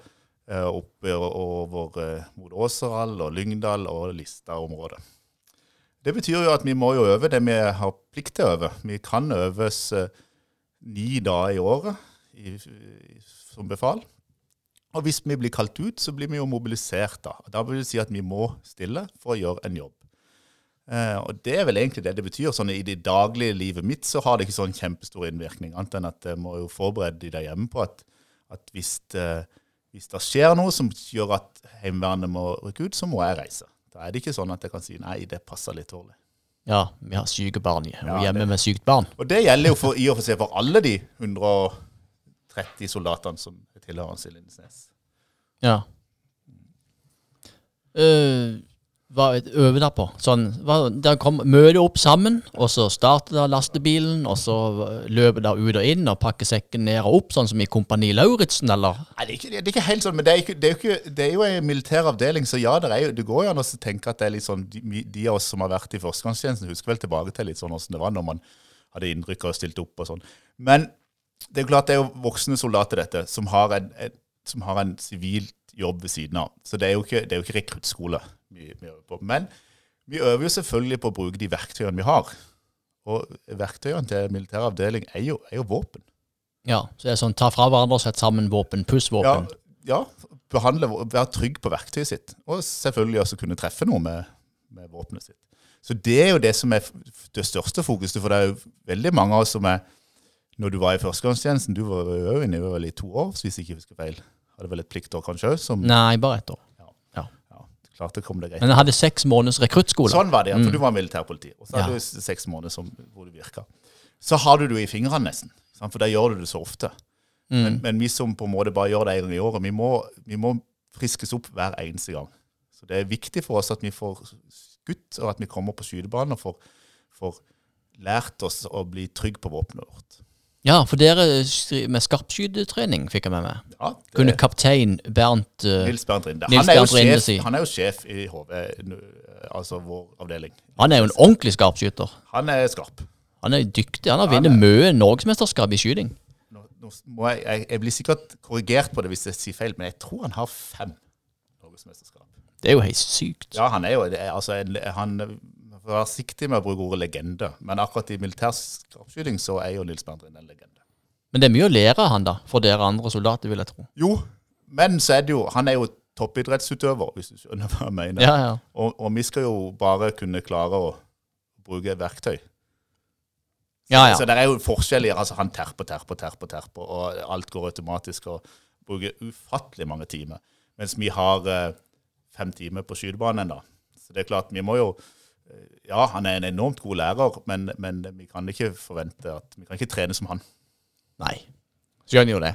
S5: eh, oppe og- over eh, mot Åseral og Lyngdal og Lista-området. Det betyr jo at vi må jo øve det vi har plikt til å øve. Vi kan øves eh, ni dager i året i, i, som befal. Og hvis vi blir kalt ut, så blir vi jo mobilisert da. Da vil det si at vi må stille for å gjøre en jobb. Eh, og det er vel egentlig det det betyr. Sånn, I det daglige livet mitt så har det ikke sånn kjempestor innvirkning, annet enn at jeg må jo forberede de der hjemme på at, at hvis, det, hvis det skjer noe som gjør at Heimevernet må rykke ut, så må jeg reise. Da er det ikke sånn at jeg kan si nei, det passer litt dårlig.
S2: Ja, vi har syke barn i- og
S5: Ja,
S2: hjemme
S5: det-
S2: med sykt barn.
S5: Og det gjelder jo for, i og for seg for alle de 130 soldatene som tilhører oss i Lindesnes.
S2: Ja. Eh, hva øver dere på? Sånn, hva, dere kom, møter opp sammen, og så starter dere lastebilen, og så løper dere ut og inn og pakker sekken ned og opp, sånn som i Kompani Lauritzen, eller?
S5: Nei, det er, ikke, det er ikke helt sånn, men det er, ikke, det er, jo ikke, det er jo en militær avdeling, så ja, det, er jo, det går jo an å tenke at det er litt sånn, de, de av oss som har vært i førstegangstjenesten, husker vel tilbake til litt sånn hvordan det var når man hadde innrykk og stilte opp og sånn. Men det er jo klart det er jo voksne soldater, dette, som har en, en, som har en sivilt jobb ved siden av. Så det er jo ikke, det er jo ikke rekruttskole vi, vi øver på. Men vi øver jo selvfølgelig på å bruke de verktøyene vi har. Og verktøyene til militær avdeling er jo, er jo våpen.
S2: Ja, så det er sånn ta fra hverandre og sette sammen våpen pluss
S5: Ja,
S2: våpen.
S5: ja behandle, være trygg på verktøyet sitt. Og selvfølgelig også kunne treffe noe med, med våpenet sitt. Så det er jo det som er f- det største fokuset, for det er jo veldig mange av oss som er Når du var i førstegangstjenesten, du var jo inne i vel i to år, hvis jeg ikke husker feil. Hadde vel et pliktår kanskje òg, som
S2: Nei, bare ett år.
S5: ja, klarte å komme deg greit
S2: Men jeg hadde seks måneders rekruttskole.
S5: Sånn var det, ja. For du var militærpoliti. Og så
S2: Mm. Ja.
S5: hadde du s- seks måneder som, hvor du virka. Så har du det i fingrene, nesten. Sant? For der gjør du det så ofte.
S2: Mm.
S5: Men, men vi som på en måte bare gjør det en gang i året, vi må, vi må friskes opp hver eneste gang. Så det er viktig for oss at vi får skutt, og at vi kommer på skytebanen og får, får lært oss å bli trygg på våpenet vårt.
S2: Ja, for dere skri- med skarpskytetrening fikk jeg med meg.
S5: Ja, det-
S2: Kunne kaptein Bernt eh,
S5: Nils Bernt Rinde.
S2: Nils
S5: Han er, jo
S2: Bernt Rinde
S5: sjef,
S2: si.
S5: han er jo sjef i HV, nå, altså vår avdeling.
S2: Han er jo en ordentlig skarpskytter.
S5: Han er skarp.
S2: Han er dyktig. Han har vunnet mye norgesmesterskap i skyting.
S5: nå, nå må jeg, jeg, jeg blir sikkert korrigert på det hvis jeg sier feil, men jeg tror han har fem norgesmesterskap.
S2: Det er jo helt sykt.
S5: Ja, han er jo det er, altså, en- han, Man får være siktig med å bruke ordet legende, men akkurat i militær skarpskyting så er jo Nils Bernt Rinde en legende.
S2: Men det er mye å lære av han, da, for dere andre soldater, vil jeg tro.
S5: Jo, men så er det jo Han er jo toppidrettsutøver, hvis du skjønner hva jeg mener.
S2: Ja, ja.
S5: Og, og vi skal jo bare kunne klare å bruke verktøy.
S2: ja,
S5: Så
S2: ja.
S5: det er jo forskjeller. Altså, han terper, terper, terper, terper, og alt går automatisk og bruker ufattelig mange timer. Mens vi har eh, fem timer på skytebanen da. Så det er klart, vi må jo eh, Ja, han er en enormt god lærer, men, men vi kan ikke forvente at Vi kan ikke trene som han.
S2: Nei. Skjønner jo det.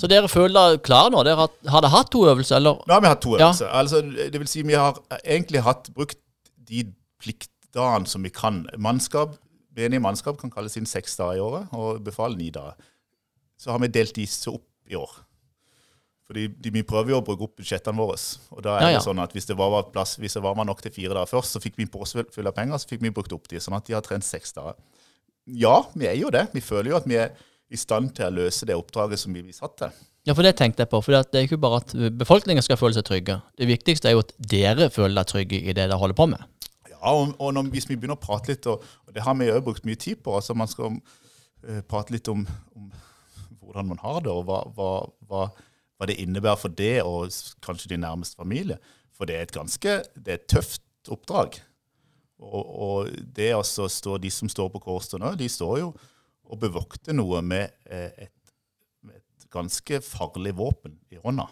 S2: Så dere føler dere klare nå? Dere har, har dere hatt to øvelser, eller?
S5: Nå har vi hatt to
S2: Ja.
S5: øvelser. Altså, det vil si, vi har egentlig hatt brukt de pliktdagene som vi kan. Mannskap, Menig mannskap kan kalles inn seks dager i året, og befal ni dager. Så har vi delt disse opp i år. Fordi de, vi prøver jo å bruke opp budsjettene våre. Og da er
S2: Ja, ja.
S5: det sånn at hvis det var, var plass, hvis det var var nok til fire dager først, så fikk vi påfyll av penger, så fikk vi brukt opp de. Sånn at de har trent seks dager. Ja, vi er jo det. Vi føler jo at vi er i stand til å løse det oppdraget som vi blir satt til.
S2: Ja, for det tenkte jeg på. For det er ikke bare at befolkningen skal føle seg trygge. Det viktigste er jo at dere føler dere trygge i det dere holder på med.
S5: Ja, og, og når, hvis vi begynner å prate litt, og, og det har vi jo brukt mye tid på, altså man skal eh, prate litt om, om hvordan man har det, og hva, hva, hva, hva det innebærer for det, og s- kanskje din nærmeste familie. For det er et ganske det er et tøft oppdrag. Og, og det altså står, de som står på Kårstø nå, de står jo og bevokter noe med eh, et, med et ganske farlig våpen i hånda.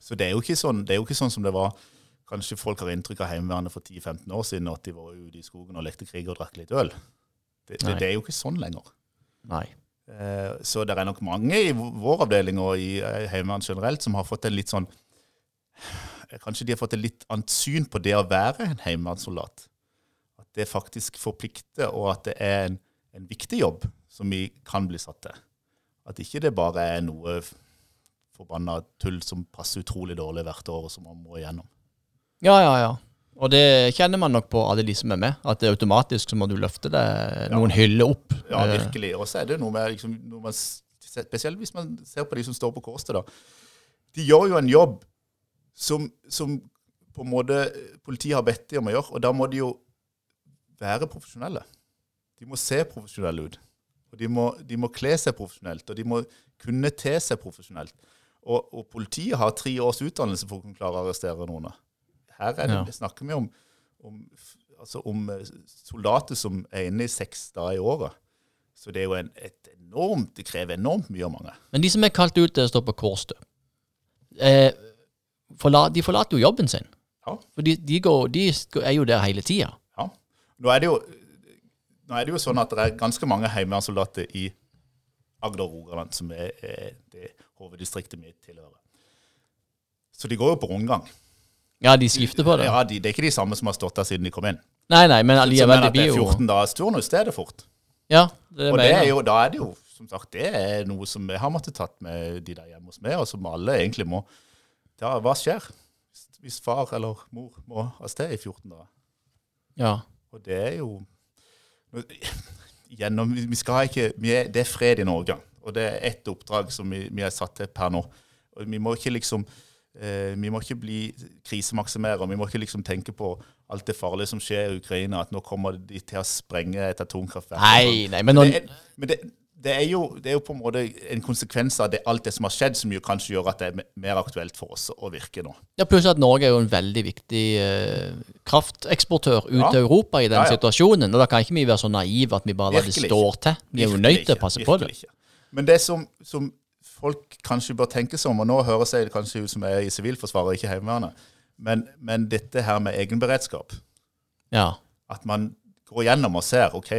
S5: Så det er jo ikke sånn, det er jo ikke sånn som det var Kanskje folk har inntrykk av Heimevernet for 10-15 år siden, at de var ute i skogen og lekte krig og drakk litt øl. Det, det,
S2: Nei.
S5: det er jo ikke sånn lenger.
S2: Nei.
S5: Eh, så det er nok mange i v- vår avdeling og i eh, Heimevernet generelt som har fått en litt sånn eh, Kanskje de har fått et litt annet syn på det å være en heimevernssoldat. At det faktisk forplikter, og at det er en, en viktig jobb som vi kan bli satt til. At ikke det bare er noe f- forbanna tull som passer utrolig dårlig hvert år, og som man må igjennom.
S2: Ja, ja, ja. Og det kjenner man nok på alle de som er med. At det er automatisk så må du løfte deg noen hyller opp.
S5: Ja,
S2: Eh,
S5: virkelig. Og så er det jo noe med liksom, når man, s- Spesielt hvis man ser på de som står på Kårstø, da. De gjør jo en jobb som, som på en måte eh, politiet har bedt dem om å gjøre, og da må de jo være profesjonelle. De må se profesjonelle ut. Og de må, de må kle seg profesjonelt, og de må kunne te seg profesjonelt. Og, og politiet har tre års utdannelse for å kunne klare å arrestere noen. Her er det,
S2: Ja.
S5: det snakker vi om, om, f- altså om eh, soldater som er inne i seks dager i året. Så det er jo en, et enormt, det krever enormt mye av mange.
S2: Men de som er kalt ut til å stå på Kårstø, eh, forla, de forlater jo jobben sin.
S5: Ja.
S2: For de, de, går, de sk- er jo der hele tida.
S5: Ja. Nå er det jo, nå er det jo sånn at det er ganske mange heimevernssoldater i Agder og Rogaland, som er, er det hoveddistriktet mitt tilhører. Så de går jo på rundgang.
S2: Ja, de skifter på det.
S5: Ja, de, Det er ikke de samme som har stått der siden de kom inn.
S2: Nei, nei, men
S5: men
S2: allikevel, det
S5: at det
S2: blir
S5: er
S2: jo
S5: 14 dagers turnus, det er det fort.
S2: Ja, det
S5: Og det
S2: mener
S5: er
S2: jeg.
S5: jo, da er det jo som sagt, det er noe som vi har måttet tatt med de der hjemme hos meg, og som alle egentlig må ja, Hva skjer hvis- hvis far eller mor må av sted i 14 dager?
S2: Ja.
S5: Og det er jo [LAUGHS] gjennom, Vi skal ikke vi er, Det er fred i Norge, og det er ett oppdrag som vi, vi er satt til per nå. Og vi må ikke liksom eh, vi må ikke bli krisemaksimere, og vi må ikke liksom tenke på alt det farlige som skjer i Ukraina, at nå kommer de til å sprenge et atomkraftverk.
S2: Nei, nei, men
S5: Men
S2: når
S5: det, er, men det, det, er jo, det er jo på en måte en konsekvens av det, alt det som har skjedd, som jo kanskje gjør at det er me- mer aktuelt for oss å virke nå.
S2: Ja, Pluss at Norge er jo en veldig viktig eh, krafteksportør ut
S5: Ja.
S2: til Europa i den
S5: Ja, ja.
S2: situasjonen. Og da kan ikke vi være så naive at vi bare lar det
S5: Virkelig
S2: stå til. Vi er jo nødt til å
S5: Virkelig
S2: passe
S5: ikke,
S2: på det.
S5: virkelig Ikke. Men det som, som folk kanskje bør tenke seg om, og nå høres jeg kanskje ut som jeg er i Sivilforsvaret og ikke Heimevernet, men, men dette her med egenberedskap,
S2: Ja.
S5: at man går gjennom og ser ok,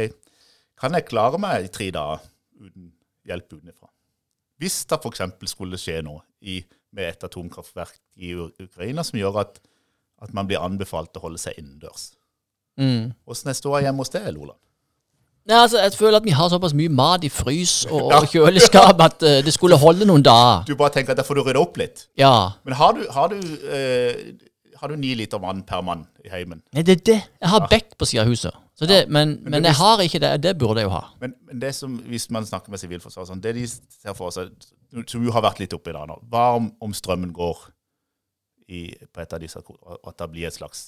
S5: kan jeg klare meg i tre dager uten hjelp utenfra. Hvis det f.eks. skulle skje noe i, med et atomkraftverk i U- Ukraina som gjør at, at man blir anbefalt å holde seg innendørs.
S2: Mm.
S5: Åssen jeg står hjemme hos deg, Loland?
S2: Nei, altså, Jeg føler at vi har såpass mye mat i frys
S5: [LAUGHS]
S2: og, og kjøleskap at eh, det skulle holde noen dager.
S5: Du bare tenker at der får du rydde opp litt.
S2: Ja.
S5: Men har du, har du, eh, har du ni liter vann per mann i heimen?
S2: Nei, det er det. Jeg har bekk på siden av huset. Så det, men, men jeg har ikke det. Det burde jeg jo ha.
S5: Men, men det som, hvis man snakker med Sivilforsvaret, og sånn, det de ser for seg, som jo har vært litt oppe i dag nå, hva om, om strømmen går i, på et av disse, og at det blir et slags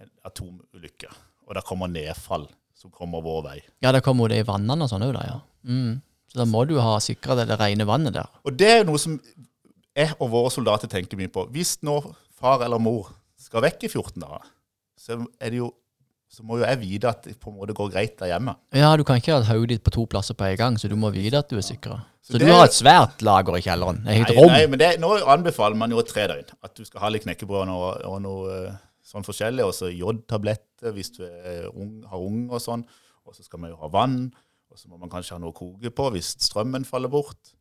S5: en atomulykke, og det kommer nedfall som kommer vår vei.
S2: Ja, da kommer jo det i vannene og sånn òg, da. Ja. Mm. Så da må du ha sikra deg det rene vannet der.
S5: Og det er jo noe som jeg og våre soldater tenker mye på. Hvis nå far eller mor skal vekk i 14 dager, så, er det jo, så må jo jeg vite at det på en måte går greit der hjemme.
S2: Ja, du kan ikke ha hodet ditt på to plasser på en gang, så du må vite at du er sikra. Så,
S5: Så
S2: du
S5: det-
S2: har et svært lager i kjelleren. Et helt
S5: Nei,
S2: rom.
S5: nei, men det, nå anbefaler man jo tre døgn. At du skal ha litt knekkebrød og, og noe eh, sånn forskjellig. Og så jodtabletter hvis du er ung, har ung og sånn. Og så skal man jo ha vann. Og så må man kanskje ha noe å koke på hvis strømmen faller bort.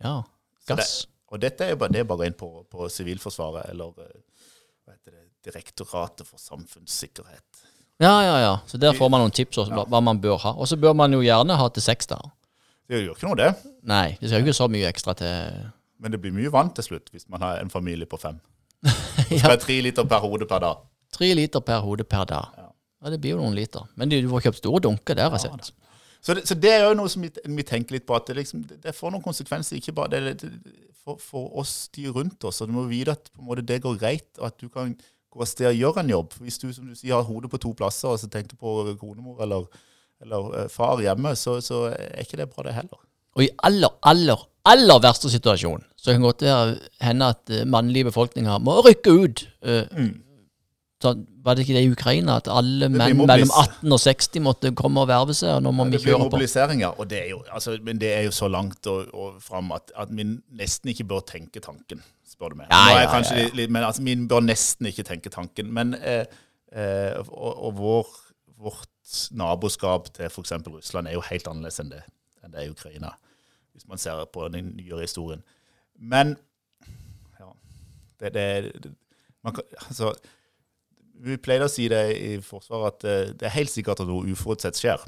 S2: Ja.
S5: Så
S2: Gass.
S5: Og dette er jo bare, det er bare å gå inn på, på Sivilforsvaret eller eh, hva heter det, Direktoratet for samfunnssikkerhet.
S2: Ja, ja, ja. Så der får man noen tips om hva- hva man bør ha. Og så bør man jo gjerne ha til seks dager.
S5: Det gjør ikke noe, det.
S2: Nei, det skal jo ikke så mye ekstra til
S5: Men det blir mye vann til slutt hvis man har en familie på
S2: [LAUGHS]
S5: fem. Så skal
S2: ja,
S5: jeg ha tre liter per hode per dag.
S2: Tre liter per hode per dag. Ja, det blir jo noen liter. Men du, du får kjøpt store dunker der, har jeg sett.
S5: Så det, så det er jo noe som vi, vi tenker litt på, at det, liksom, det, det får noen konsekvenser ikke bare det, det, for, for oss de rundt oss. Og du må vite at på en måte, det går greit, og at du kan gå av sted og gjøre en jobb. For Hvis du som du sier, har hodet på to plasser og så tenker på konemor eller, eller eh, far hjemme, så, så er ikke det bra, det heller.
S2: Og i aller, aller, aller verste situasjon, så kan godt det hende at eh, mannlig befolkning har- må rykke ut. eh, sånn, var det ikke det i Ukraina at alle
S5: Mm. blir
S2: menn
S5: mobilis-
S2: mellom 18 og 60 måtte komme og verve seg, og nå må vi
S5: Det blir
S2: kjøre på?
S5: mobiliseringer, og det er jo, altså, men det er jo så langt og, og fram at, at vi nesten ikke bør tenke tanken, spør du meg.
S2: Ja,
S5: Nå er jeg
S2: ja,
S5: kanskje
S2: ja, ja.
S5: litt- Litt, men altså, vi bør nesten ikke tenke tanken. Men, eh, eh, og, og vår, vårt naboskap til f.eks. Russland er jo helt annerledes enn det, enn det er i Ukraina, hvis man ser på den nyere historien. Men ja, det, det, det man kan, altså, Vi pleide å si det i Forsvaret at eh, det er helt sikkert at noe uforutsett skjer.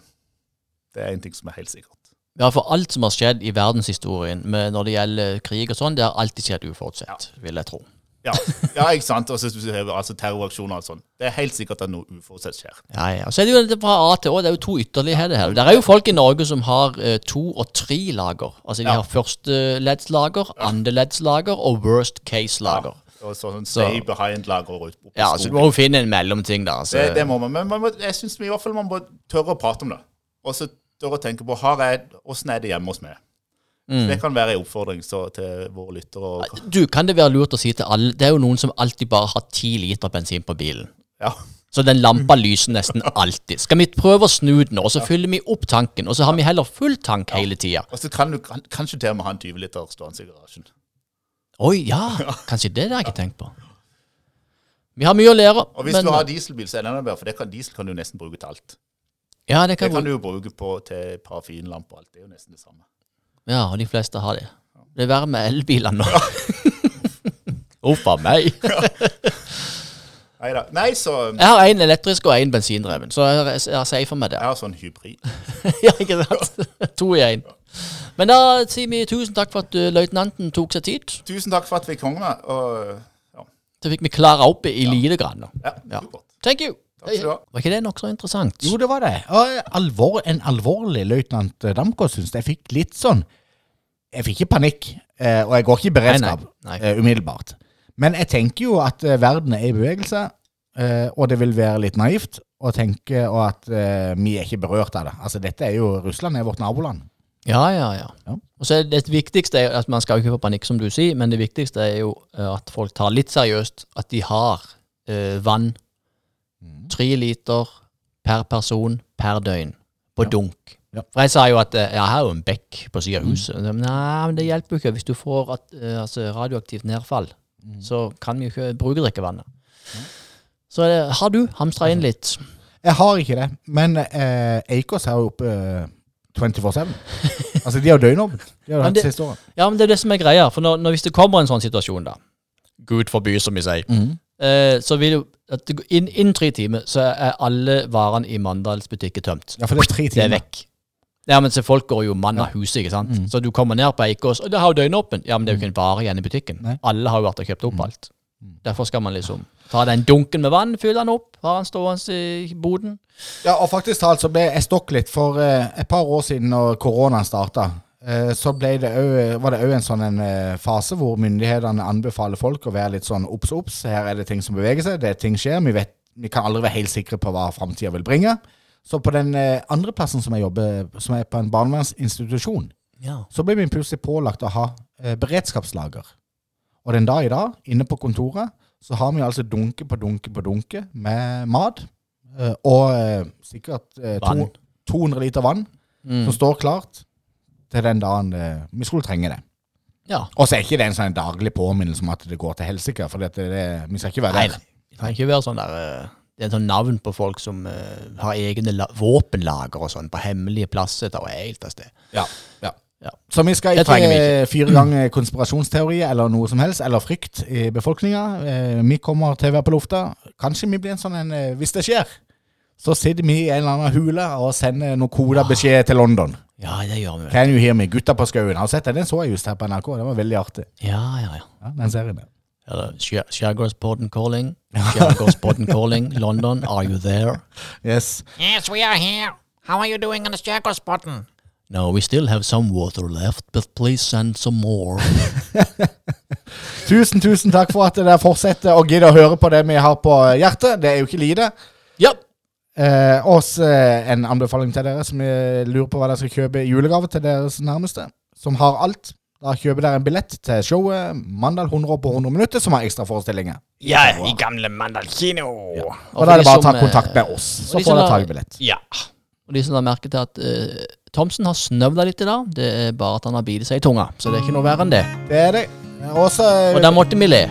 S5: Det er en ting som er helt sikkert.
S2: Ja, for alt som har skjedd i verdenshistorien med når det gjelder krig og sånn, det har alltid skjedd uforutsett, vil jeg tro.
S5: Ja, ja ikke sant? Og så altså, terroraksjoner og sånn. Det er helt sikkert at noe uforutsett skjer.
S2: Ja, ja. Så er det jo dette fra A til Å, det er jo to ytterligheter her. Det er jo folk i Norge som har eh, to og tre lager. Altså de
S5: Ja.
S2: har førsteleddslager, andreleddslager og worst case-lager.
S5: Og sånn stay behind-lager og ut opp i
S2: Ja, så du
S5: skogen.
S2: må jo finne en mellomting da. Altså.
S5: det, det må man. Men man må, jeg syns i hvert fall man må tørre å prate om det. Og så tørre å tenke på har jeg, åssen er det hjemme hos meg. Det kan være en oppfordring så, til våre lyttere. Og,
S2: Du, kan det være lurt å si til alle, det er jo noen som alltid bare har ti liter bensin på bilen.
S5: ja.
S2: Så den lampa lyser nesten alltid. Skal vi prøve å snu den, og så fyller vi opp tanken, og så har vi heller full tank hele tida.
S5: og så kan du kan, kanskje til og med ha en 20-liter stående i garasjen.
S2: Oi, ja, kanskje det har jeg ikke tenkt på. Vi har mye å lære.
S5: Og hvis du har dieselbil, så er det enda bedre, for det kan, diesel kan du nesten bruke til alt.
S2: ja, det
S5: Det
S2: kan,
S5: kan
S2: du.
S5: du jo bruke på, til parafinlampe og alt. Det er jo nesten det samme.
S2: Ja, og de fleste har det. [LAUGHS] Det er verre med elbilene nå. Uff a meg.
S5: Neida. Nei, så
S2: Jeg har én elektrisk og én bensindreven, så jeg jeg- jeg sier for meg det.
S5: jeg har sånn hybrid.
S2: ja, ikke sant? to i én. Men da sier vi tusen takk for at uh, løytnanten tok seg tid.
S5: Tusen takk for at vi kom. da, Og, ja.
S2: Så fikk vi klara opp i lite grann.
S5: Ja,
S2: Ja.
S5: supert.
S2: Thank you!
S5: Takk skal du ha.
S2: Var ikke det nokså interessant?
S1: Jo, det var det. Og alvor, en alvorlig løytnant eh, Damgaard syns jeg fikk litt sånn Jeg fikk ikke panikk, eh, og jeg går ikke i beredskap
S2: Nei, nei.
S1: eh, umiddelbart. Men jeg tenker jo at eh, verden er i bevegelse, eh, og det vil være litt naivt å tenke og at eh, vi er ikke berørt av det. Altså, dette er jo Russland er vårt naboland.
S2: Ja, ja, ja.
S1: Ja.
S2: Og så er det viktigste er at man skal jo ikke få panikk, som du sier, men det viktigste er jo eh, at folk tar litt seriøst at de har eh, vann.
S1: Mm.
S2: Tre liter per person per døgn på dunk.
S1: Ja. Mm.
S2: For jeg sa jo at eh, jeg har jo en bekk på siden av huset. Men Nei, men det hjelper jo ikke. Hvis du får at, eh, altså, radioaktivt nedfall,
S1: Mm.
S2: så kan vi jo ikke bruke drikkevannet. Så eh, har du hamstra
S1: Mhm.
S2: inn litt?
S1: Jeg har ikke det, men eh, Eikås er jo oppe eh, 24-7.
S2: [LAUGHS]
S1: Altså, de har døgnåpent. De har
S2: Men
S1: hatt
S2: det-
S1: siste året.
S2: Ja, men det er det som er greia. For når, når hvis det kommer en sånn situasjon, da Gud forby, som vi sier. Eh, så vil jo at det går inn, innen tre timer så er alle varene i Mandals butikker tømt.
S1: Ja, for det er tre
S2: Det er
S1: timer. Mhm.
S2: vekk. Ja, men så Folk går jo mann av huset, ikke sant. Så du kommer ned på Eikås, og det har jo døgnåpent. Ja, men det er jo ikke en vare igjen i butikken.
S1: Nei. Mhm.
S2: Alle har jo vært og kjøpt opp alt. Derfor skal man liksom ta den dunken med vann, fylle den opp, ha den stående i boden.
S1: Ja, og faktisk talt så ble jeg stokk litt, for eh, et par år siden når koronaen starta, eh, så ble det ø, var det òg en sånn en, eh, fase hvor myndighetene anbefaler folk å være litt sånn obs, obs. Her er det ting som beveger seg, det er ting skjer. Vi, vet, vi kan aldri være helt sikre på hva framtida vil bringe. Så på den eh, andre plassen som jeg jobber, som er på en barnevernsinstitusjon,
S2: Ja.
S1: så ble vi plutselig pålagt å ha eh, beredskapslager. Og den dag i dag, inne på kontoret, så har vi altså dunke på dunke på dunke med mat. Eh, og eh, sikkert eh, to,
S2: Vann.
S1: 200 liter vann
S2: Mm.
S1: som står klart til den dagen eh, vi skulle trenge det.
S2: ja.
S1: Og så er ikke det en sånn daglig påminnelse om at det går til helsike, for dette, det, vi skal ikke være
S2: Nei,
S1: der.
S2: nei. Det kan ikke være sånn der eh, Det er sånn navn på folk som eh, har egne la våpenlager og sånn på hemmelige plasser. Det er helt av sted.
S1: Ja, ja.
S2: Ja.
S1: Så vi skal
S2: Det
S1: ikke,
S2: trenger vi
S1: eh, fyre i gang eh, konspirasjonsteorier eller noe som helst, eller frykt i befolkninga. Eh, Vi kommer til å være på lufta. Kanskje vi blir en sånn en eh, Hvis det skjer, så sitter vi i en eller annen hule og sender noen kodebeskjed til London.
S2: Ja, det gjør vi. vel.
S1: Can you hear me? Gutta på skauen. Har du sett den? Den så jeg just her på NRK. Den var veldig artig.
S2: Ja, ja, ja.
S1: Ja, den serien der.
S2: Eller Skjær- Skjærgårdspodden calling. Skjærgårdspodden calling. London, are you there?
S1: Yes.
S6: Yes, we are here. How are you doing on the Jackal Spartan?
S2: No, we still have some water left, but please send some more.
S1: Tusen, tusen takk for at dere fortsetter å gidde å høre på det vi har på hjertet. Det er jo ikke lite.
S2: ja.
S1: Eh, også eh, en anbefaling til dere som eh, lurer på hva dere skal kjøpe i julegave til deres nærmeste, som har alt. Da kjøper dere en billett til showet Mandal 100 på 100 minutter, som har ekstraforestillinger.
S6: Ja, i gamle Mandal Kino.
S1: Og da er det bare å
S2: for
S1: ta
S2: de som,
S1: kontakt
S2: eh,
S1: med oss,
S2: og
S1: så
S2: de
S1: får
S2: som
S1: dere
S2: har-
S1: tak i billett.
S2: Ja. Og de som la merke til at eh, Thomsen har snøvla litt i dag, det er bare at han har bitt seg i tunga. Så det er ikke noe verre enn det.
S1: Det er det. Eh, Og så
S2: Og der måtte vi le.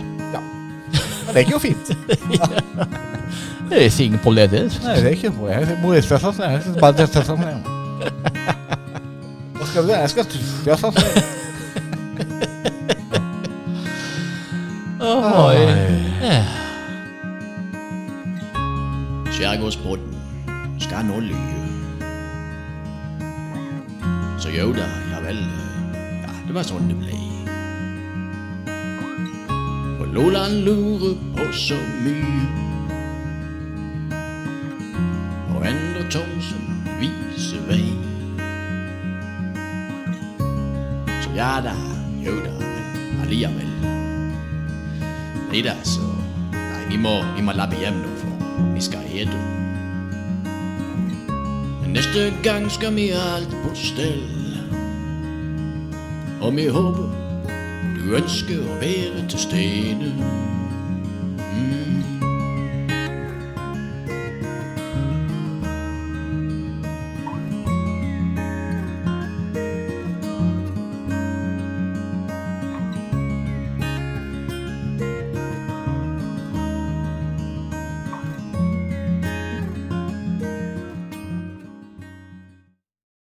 S1: Det er ikke jo
S2: [LAUGHS]
S1: fint.
S2: Det er ikke noe problem, det.
S1: Nei, det er ikke noe. Jeg bor i Størsandsen. Jeg synes bare det er Størsandsen.
S2: [LAUGHS]
S1: Hva skal du? Jeg skal til Størsandsen.
S2: Skjærgårdsbåten skal nå lyve. Så jo da, ja vel. Ja, det var sånn det ble. Og Lolan lurer på så mye. Og Endre Thomsen viser vei. Så ja da, jo da, men alliavel. Nei da, så Nei, vi må, vi må labbe hjem nå, for vi skal ete. Men Neste gang skal vi ha alt på stell. Og vi håper du ønsker å være til stede.